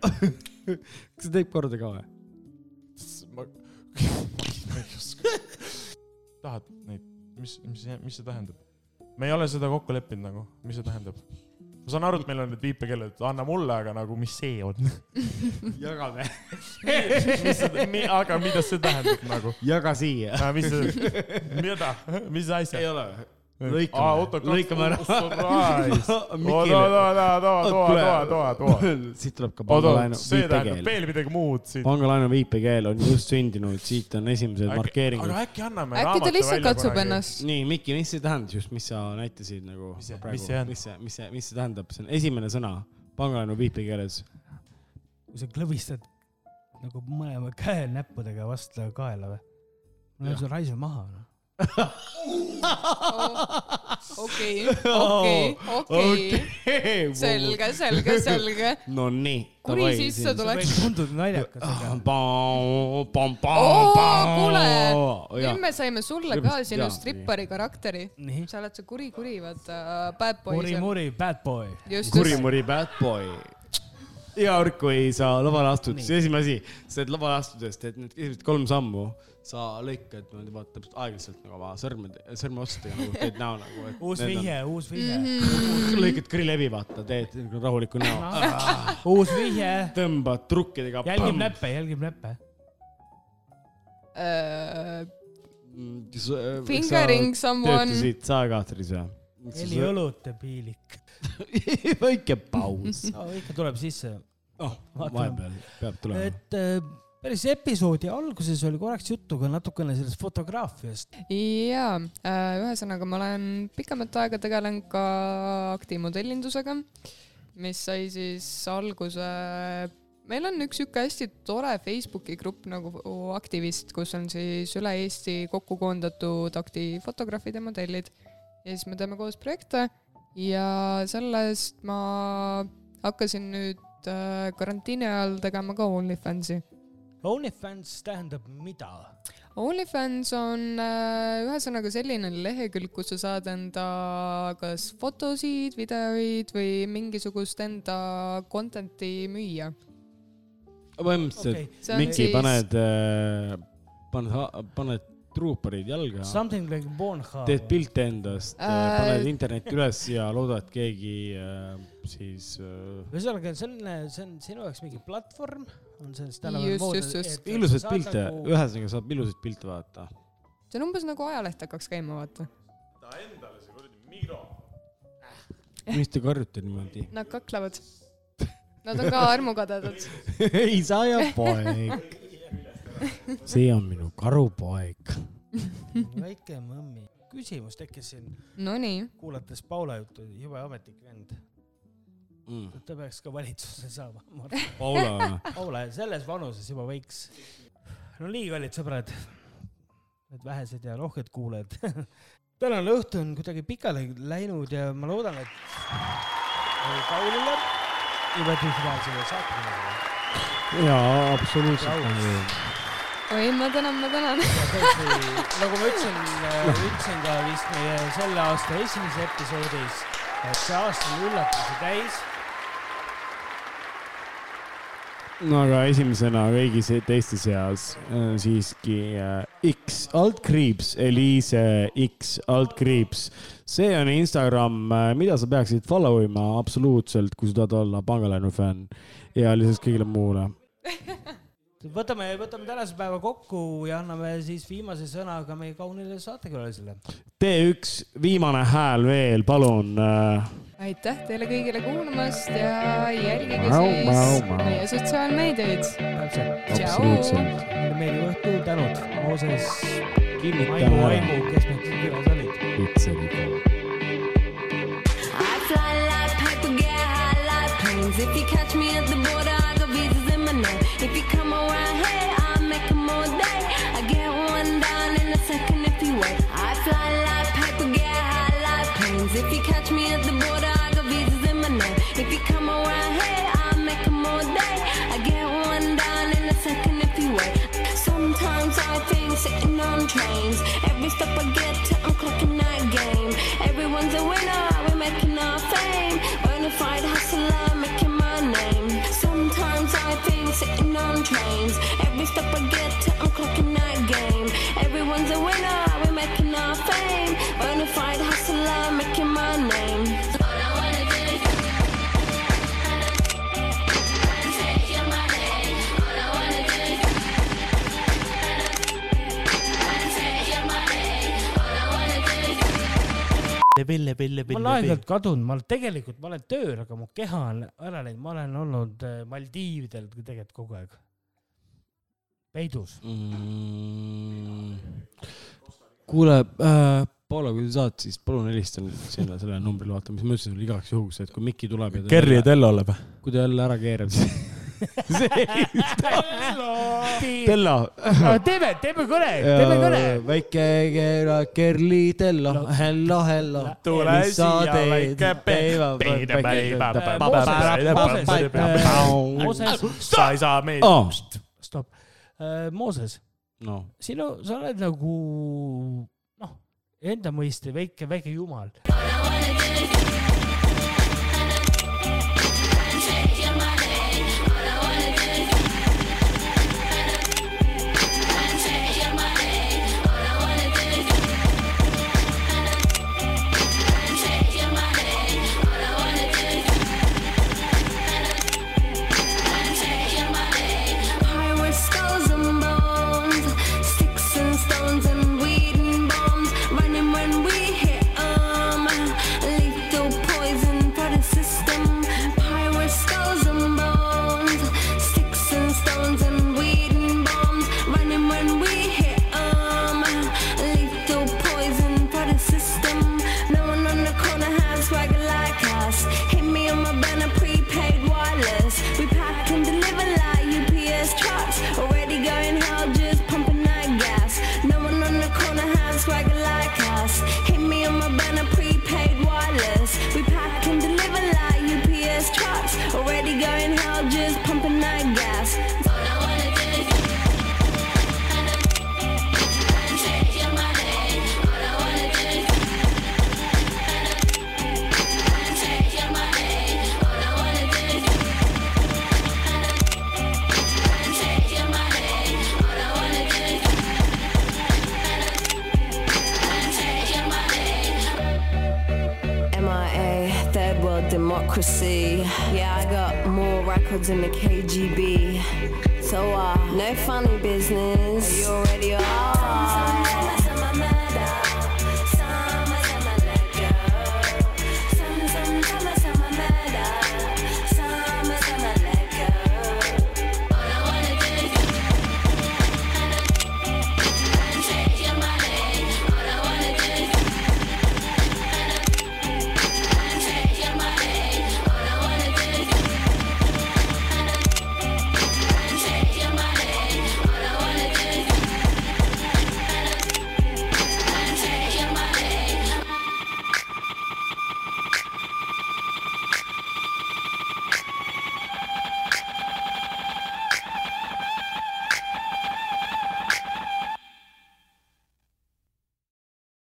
Speaker 5: kas ta teeb korda ka või ?
Speaker 7: ma *laughs* ma ei oska . tahad neid , mis , mis , mis see tähendab ? me ei ole seda kokku leppinud nagu , mis see tähendab ? ma saan aru , et meil on need viipekeeled , anna mulle , aga nagu , mis see on ? *laughs*
Speaker 5: jagame .
Speaker 7: mis see , aga mida see tähendab nagu ?
Speaker 5: jaga siia .
Speaker 7: Ah, mis , mida , mis asja ?
Speaker 5: ei ole või ?
Speaker 7: Aa,
Speaker 5: lõikame ,
Speaker 7: autokast-
Speaker 5: lõikame ära . *laughs*
Speaker 7: Surprise! oot ,
Speaker 5: Mikile-
Speaker 7: oot , oot , oot , oot , oot , oot ,
Speaker 5: *laughs*
Speaker 7: oot , oot ,
Speaker 5: siit tuleb ka
Speaker 7: oot , oot ,
Speaker 5: pangalaenu
Speaker 7: see tähendab
Speaker 5: viipekeel .
Speaker 7: veel midagi muud siin .
Speaker 5: pangalaenu viipekeel on just sündinud , siit on esimesed markeeringud
Speaker 7: aga . äkki anname
Speaker 8: äkki ta lihtsalt katsub . ennast .
Speaker 5: nii , Miki , mis see tähendas just , mis sa näitasid nagu
Speaker 7: Mis see-
Speaker 5: praegu
Speaker 7: mis see , on?
Speaker 5: mis see , mis see , mis see tähendab , see on esimene sõna pangalaenu viipekeeles .
Speaker 6: kui sa klõbistad nagu mõlema käe näppudega vastu kaela või ? mul läheb see raisu maha noh .
Speaker 8: okei , okei , okei . selge , selge , selge .
Speaker 5: no nii .
Speaker 8: kuri sisse tuleks .
Speaker 6: tundub naljakas , aga
Speaker 8: oo , kuule , nüüd
Speaker 5: kuule .
Speaker 8: me saime sulle ka
Speaker 5: Sellepärast-
Speaker 8: sinu
Speaker 5: jaa,
Speaker 8: strippari karakteri .
Speaker 6: nii .
Speaker 8: sa oled see kuri , kuri , vaata , bad
Speaker 6: Muri ,
Speaker 8: boy .
Speaker 6: muri , bad boy .
Speaker 8: just , just .
Speaker 5: kurimuri bad boy . iga kord , kui sa lavale astud , siis esimene asi , sa teed lavale astudes , teed need esimesed kolm sammu , sa lõikad niimoodi vaata täpselt aeglaselt nagu oma sõrmed , sõrmeotsadega nagu teed näo nagu .
Speaker 6: uus vihje , uus vihje ,
Speaker 5: lõikad krilevi , vaata , teed nagu rahuliku näo ,
Speaker 6: uus vihje .
Speaker 5: tõmbad trukkidega .
Speaker 6: jälgib näppe , jälgib näppe .
Speaker 8: Äh,
Speaker 5: Mm,
Speaker 8: Fingering someone.
Speaker 5: äh, töötasid saekaatris või ?
Speaker 6: heli õlut , debiilik .
Speaker 5: *laughs* väike paus .
Speaker 6: ikka tuleb sisse
Speaker 5: oh ,
Speaker 6: Vaatame.
Speaker 5: vahepeal peab tulema .
Speaker 6: et äh, päris episoodi alguses oli korraks juttu ka natukene sellest fotograafiast .
Speaker 8: jaa , ühesõnaga ma olen pikemat aega tegelenud ka aktimodellindusega , mis sai siis alguse , meil on üks niisugune hästi tore Facebooki grupp nagu Aktivist , kus on siis üle Eesti kokku koondatud aktifotograafid ja modellid . ja siis me teeme koos projekte ja sellest ma hakkasin nüüd äh, karantiini ajal tegema ka OnlyFansi .
Speaker 6: OnlyFans tähendab mida ?
Speaker 8: OnlyFans on äh, ühesõnaga selline lehekülg , kus sa saad enda kas fotosid , videoid või mingisugust enda content'i müüa .
Speaker 5: põhimõtteliselt
Speaker 6: Okei.
Speaker 8: See on
Speaker 5: Miki
Speaker 8: siis- ,
Speaker 5: paned , paned , paned truuparid jalga ,
Speaker 6: Something like Pornhub .
Speaker 5: teed pilte endast ,
Speaker 8: Äh,
Speaker 5: paned internetti üles ja loodad , et keegi äh, siis äh,
Speaker 6: ühesõnaga , see on , see on sinu jaoks mingi platvorm , on see siis
Speaker 8: Just,
Speaker 6: tänapäeval
Speaker 8: just, just.
Speaker 6: moodne .
Speaker 5: ilusaid pilte ,
Speaker 8: nagu-
Speaker 6: nagu *laughs*
Speaker 5: ühesõnaga saab ilusaid pilte vaadata .
Speaker 8: see on umbes nagu ajaleht hakkaks käima , vaata .
Speaker 5: miks te karjute niimoodi ? *laughs*
Speaker 8: Nad kaklevad . Nad on ka armukadedad .
Speaker 5: isa ja poeg . see on minu karupoeg .
Speaker 6: väike mõmmi . küsimus tekkis siin ,
Speaker 8: Nonii ,
Speaker 6: kuulates Paula juttu , jube ametlik vend .
Speaker 8: Mm.
Speaker 6: ta peaks ka valitsusse saama . *laughs*
Speaker 5: Paula ,
Speaker 6: Paula selles vanuses juba võiks . no nii , kallid sõbrad , need vähesed ja rohked kuulajad . *laughs* tänane õhtu on kuidagi pikale läinud ja ma loodan , et oli Paulile jube tühja selle saate peale .
Speaker 5: jaa , absoluutselt .
Speaker 8: oi , ma tänan , ma tänan .
Speaker 6: *laughs* tõesti , nagu ma ütlesin , ütlesin ka vist meie selle aasta esimeses episoodis , et see aasta oli üllatusi täis .
Speaker 5: no aga esimesena kõigi se- teiste seas äh, siiski äh, X altkriips , Eliise X altkriips . see on Instagram , mida sa peaksid follow ima absoluutselt , kui sa tahad olla pangalaenu fänn ja lisaks kõigile muule .
Speaker 6: võtame , võtame tänase päeva kokku ja anname siis viimase sõna ka meie kaunile saatekülalisele .
Speaker 5: tee üks viimane hääl veel , palun äh, .
Speaker 8: aitäh teile kõigile kuulamast ja jälgige
Speaker 5: Mau, mau,
Speaker 8: siis
Speaker 5: mau.
Speaker 8: meie sotsiaalmeediaid . tšau .
Speaker 5: absoluutselt .
Speaker 6: meeldiv õhtu , tänud , Mooses .
Speaker 5: kinnitame
Speaker 6: Aimu ,
Speaker 5: ära .
Speaker 6: Aimu , kes meil siin külas olid .
Speaker 5: üldse .
Speaker 13: I fly like paper, get high like planes. If you catch me at the border, I got visas in my name. If you come around here, I'll make 'em all day. I get one down in a second if you wait. I fly like paper, get high like planes. If you catch me at the border, I got visas in my name. If you come around here, I'll make 'em all day. I get one down in a second if you wait. Sometimes I think sitting on trains. Every step I get to, I'm clocking that game. Everyone's a winner, we're making our fame. Bonafide hustler, making my name. Sometimes I think sitting on trains. Every step I get to, I'm clocking that game. Everyone's a winner, we're making our fame. Bonafide hustler, making my name. All I wanna do is take your money. All I wanna do is take your money. All I wanna do is
Speaker 14: Ville , Ville ,
Speaker 6: ma
Speaker 14: Ville ,
Speaker 6: olen aeg-ajalt kadunud , ma olen tegelikult , ma olen tööl , aga mu keha on ära läinud , ma olen olnud eh, Maldiividel tegelikult kogu aeg . peidus .
Speaker 11: Mm. kuule äh, , Paolo , kui sa saad , siis palun helista nüüd sinna sellele numbrile , vaata , mis ma ütlesin sulle igaks juhuks , et kui Mikki tuleb .
Speaker 7: Kerri ja Tellole või? ?
Speaker 11: kui ta jälle ära keerab ,
Speaker 6: *laughs*
Speaker 11: siis Tello .
Speaker 6: teeme , teeme kõne , teeme kõne .
Speaker 11: väike keera Kerli Tello , hello , hello .
Speaker 6: Tule siia, väike pe- peine päiva-
Speaker 7: sa ei saa meid
Speaker 11: Aa. .
Speaker 6: stopp , Äh, Mooses
Speaker 11: no
Speaker 6: sinu , sa oled nagu noh , enda mõiste väike , väike jumal .
Speaker 13: Pirates, skulls and bones, sticks and stones and weed and bombs. Running when we hit 'em. lethal poison for the system. Pirates, skulls and bones, sticks and stones and weed and bombs. Running when we hit 'em. lethal poison for the system. No one on the corner has swagger like us. Hit me on my banner, prepaid wireless. We pack and deliver like UPS trucks. Already going hard, just pumping that gas. No one on the corner has swagger like us. Hit me on my banner, prepaid wireless. We pack and deliver like UPS trucks. Already going hard, just pumping that gas. All I wanna do is take your money. All I wanna do is take your money. All I wanna do is take your money. All I wanna do is take your money. MIA, third world democracy. Yeah, I got more records than the KGB. So, uh, no funny business. You already are.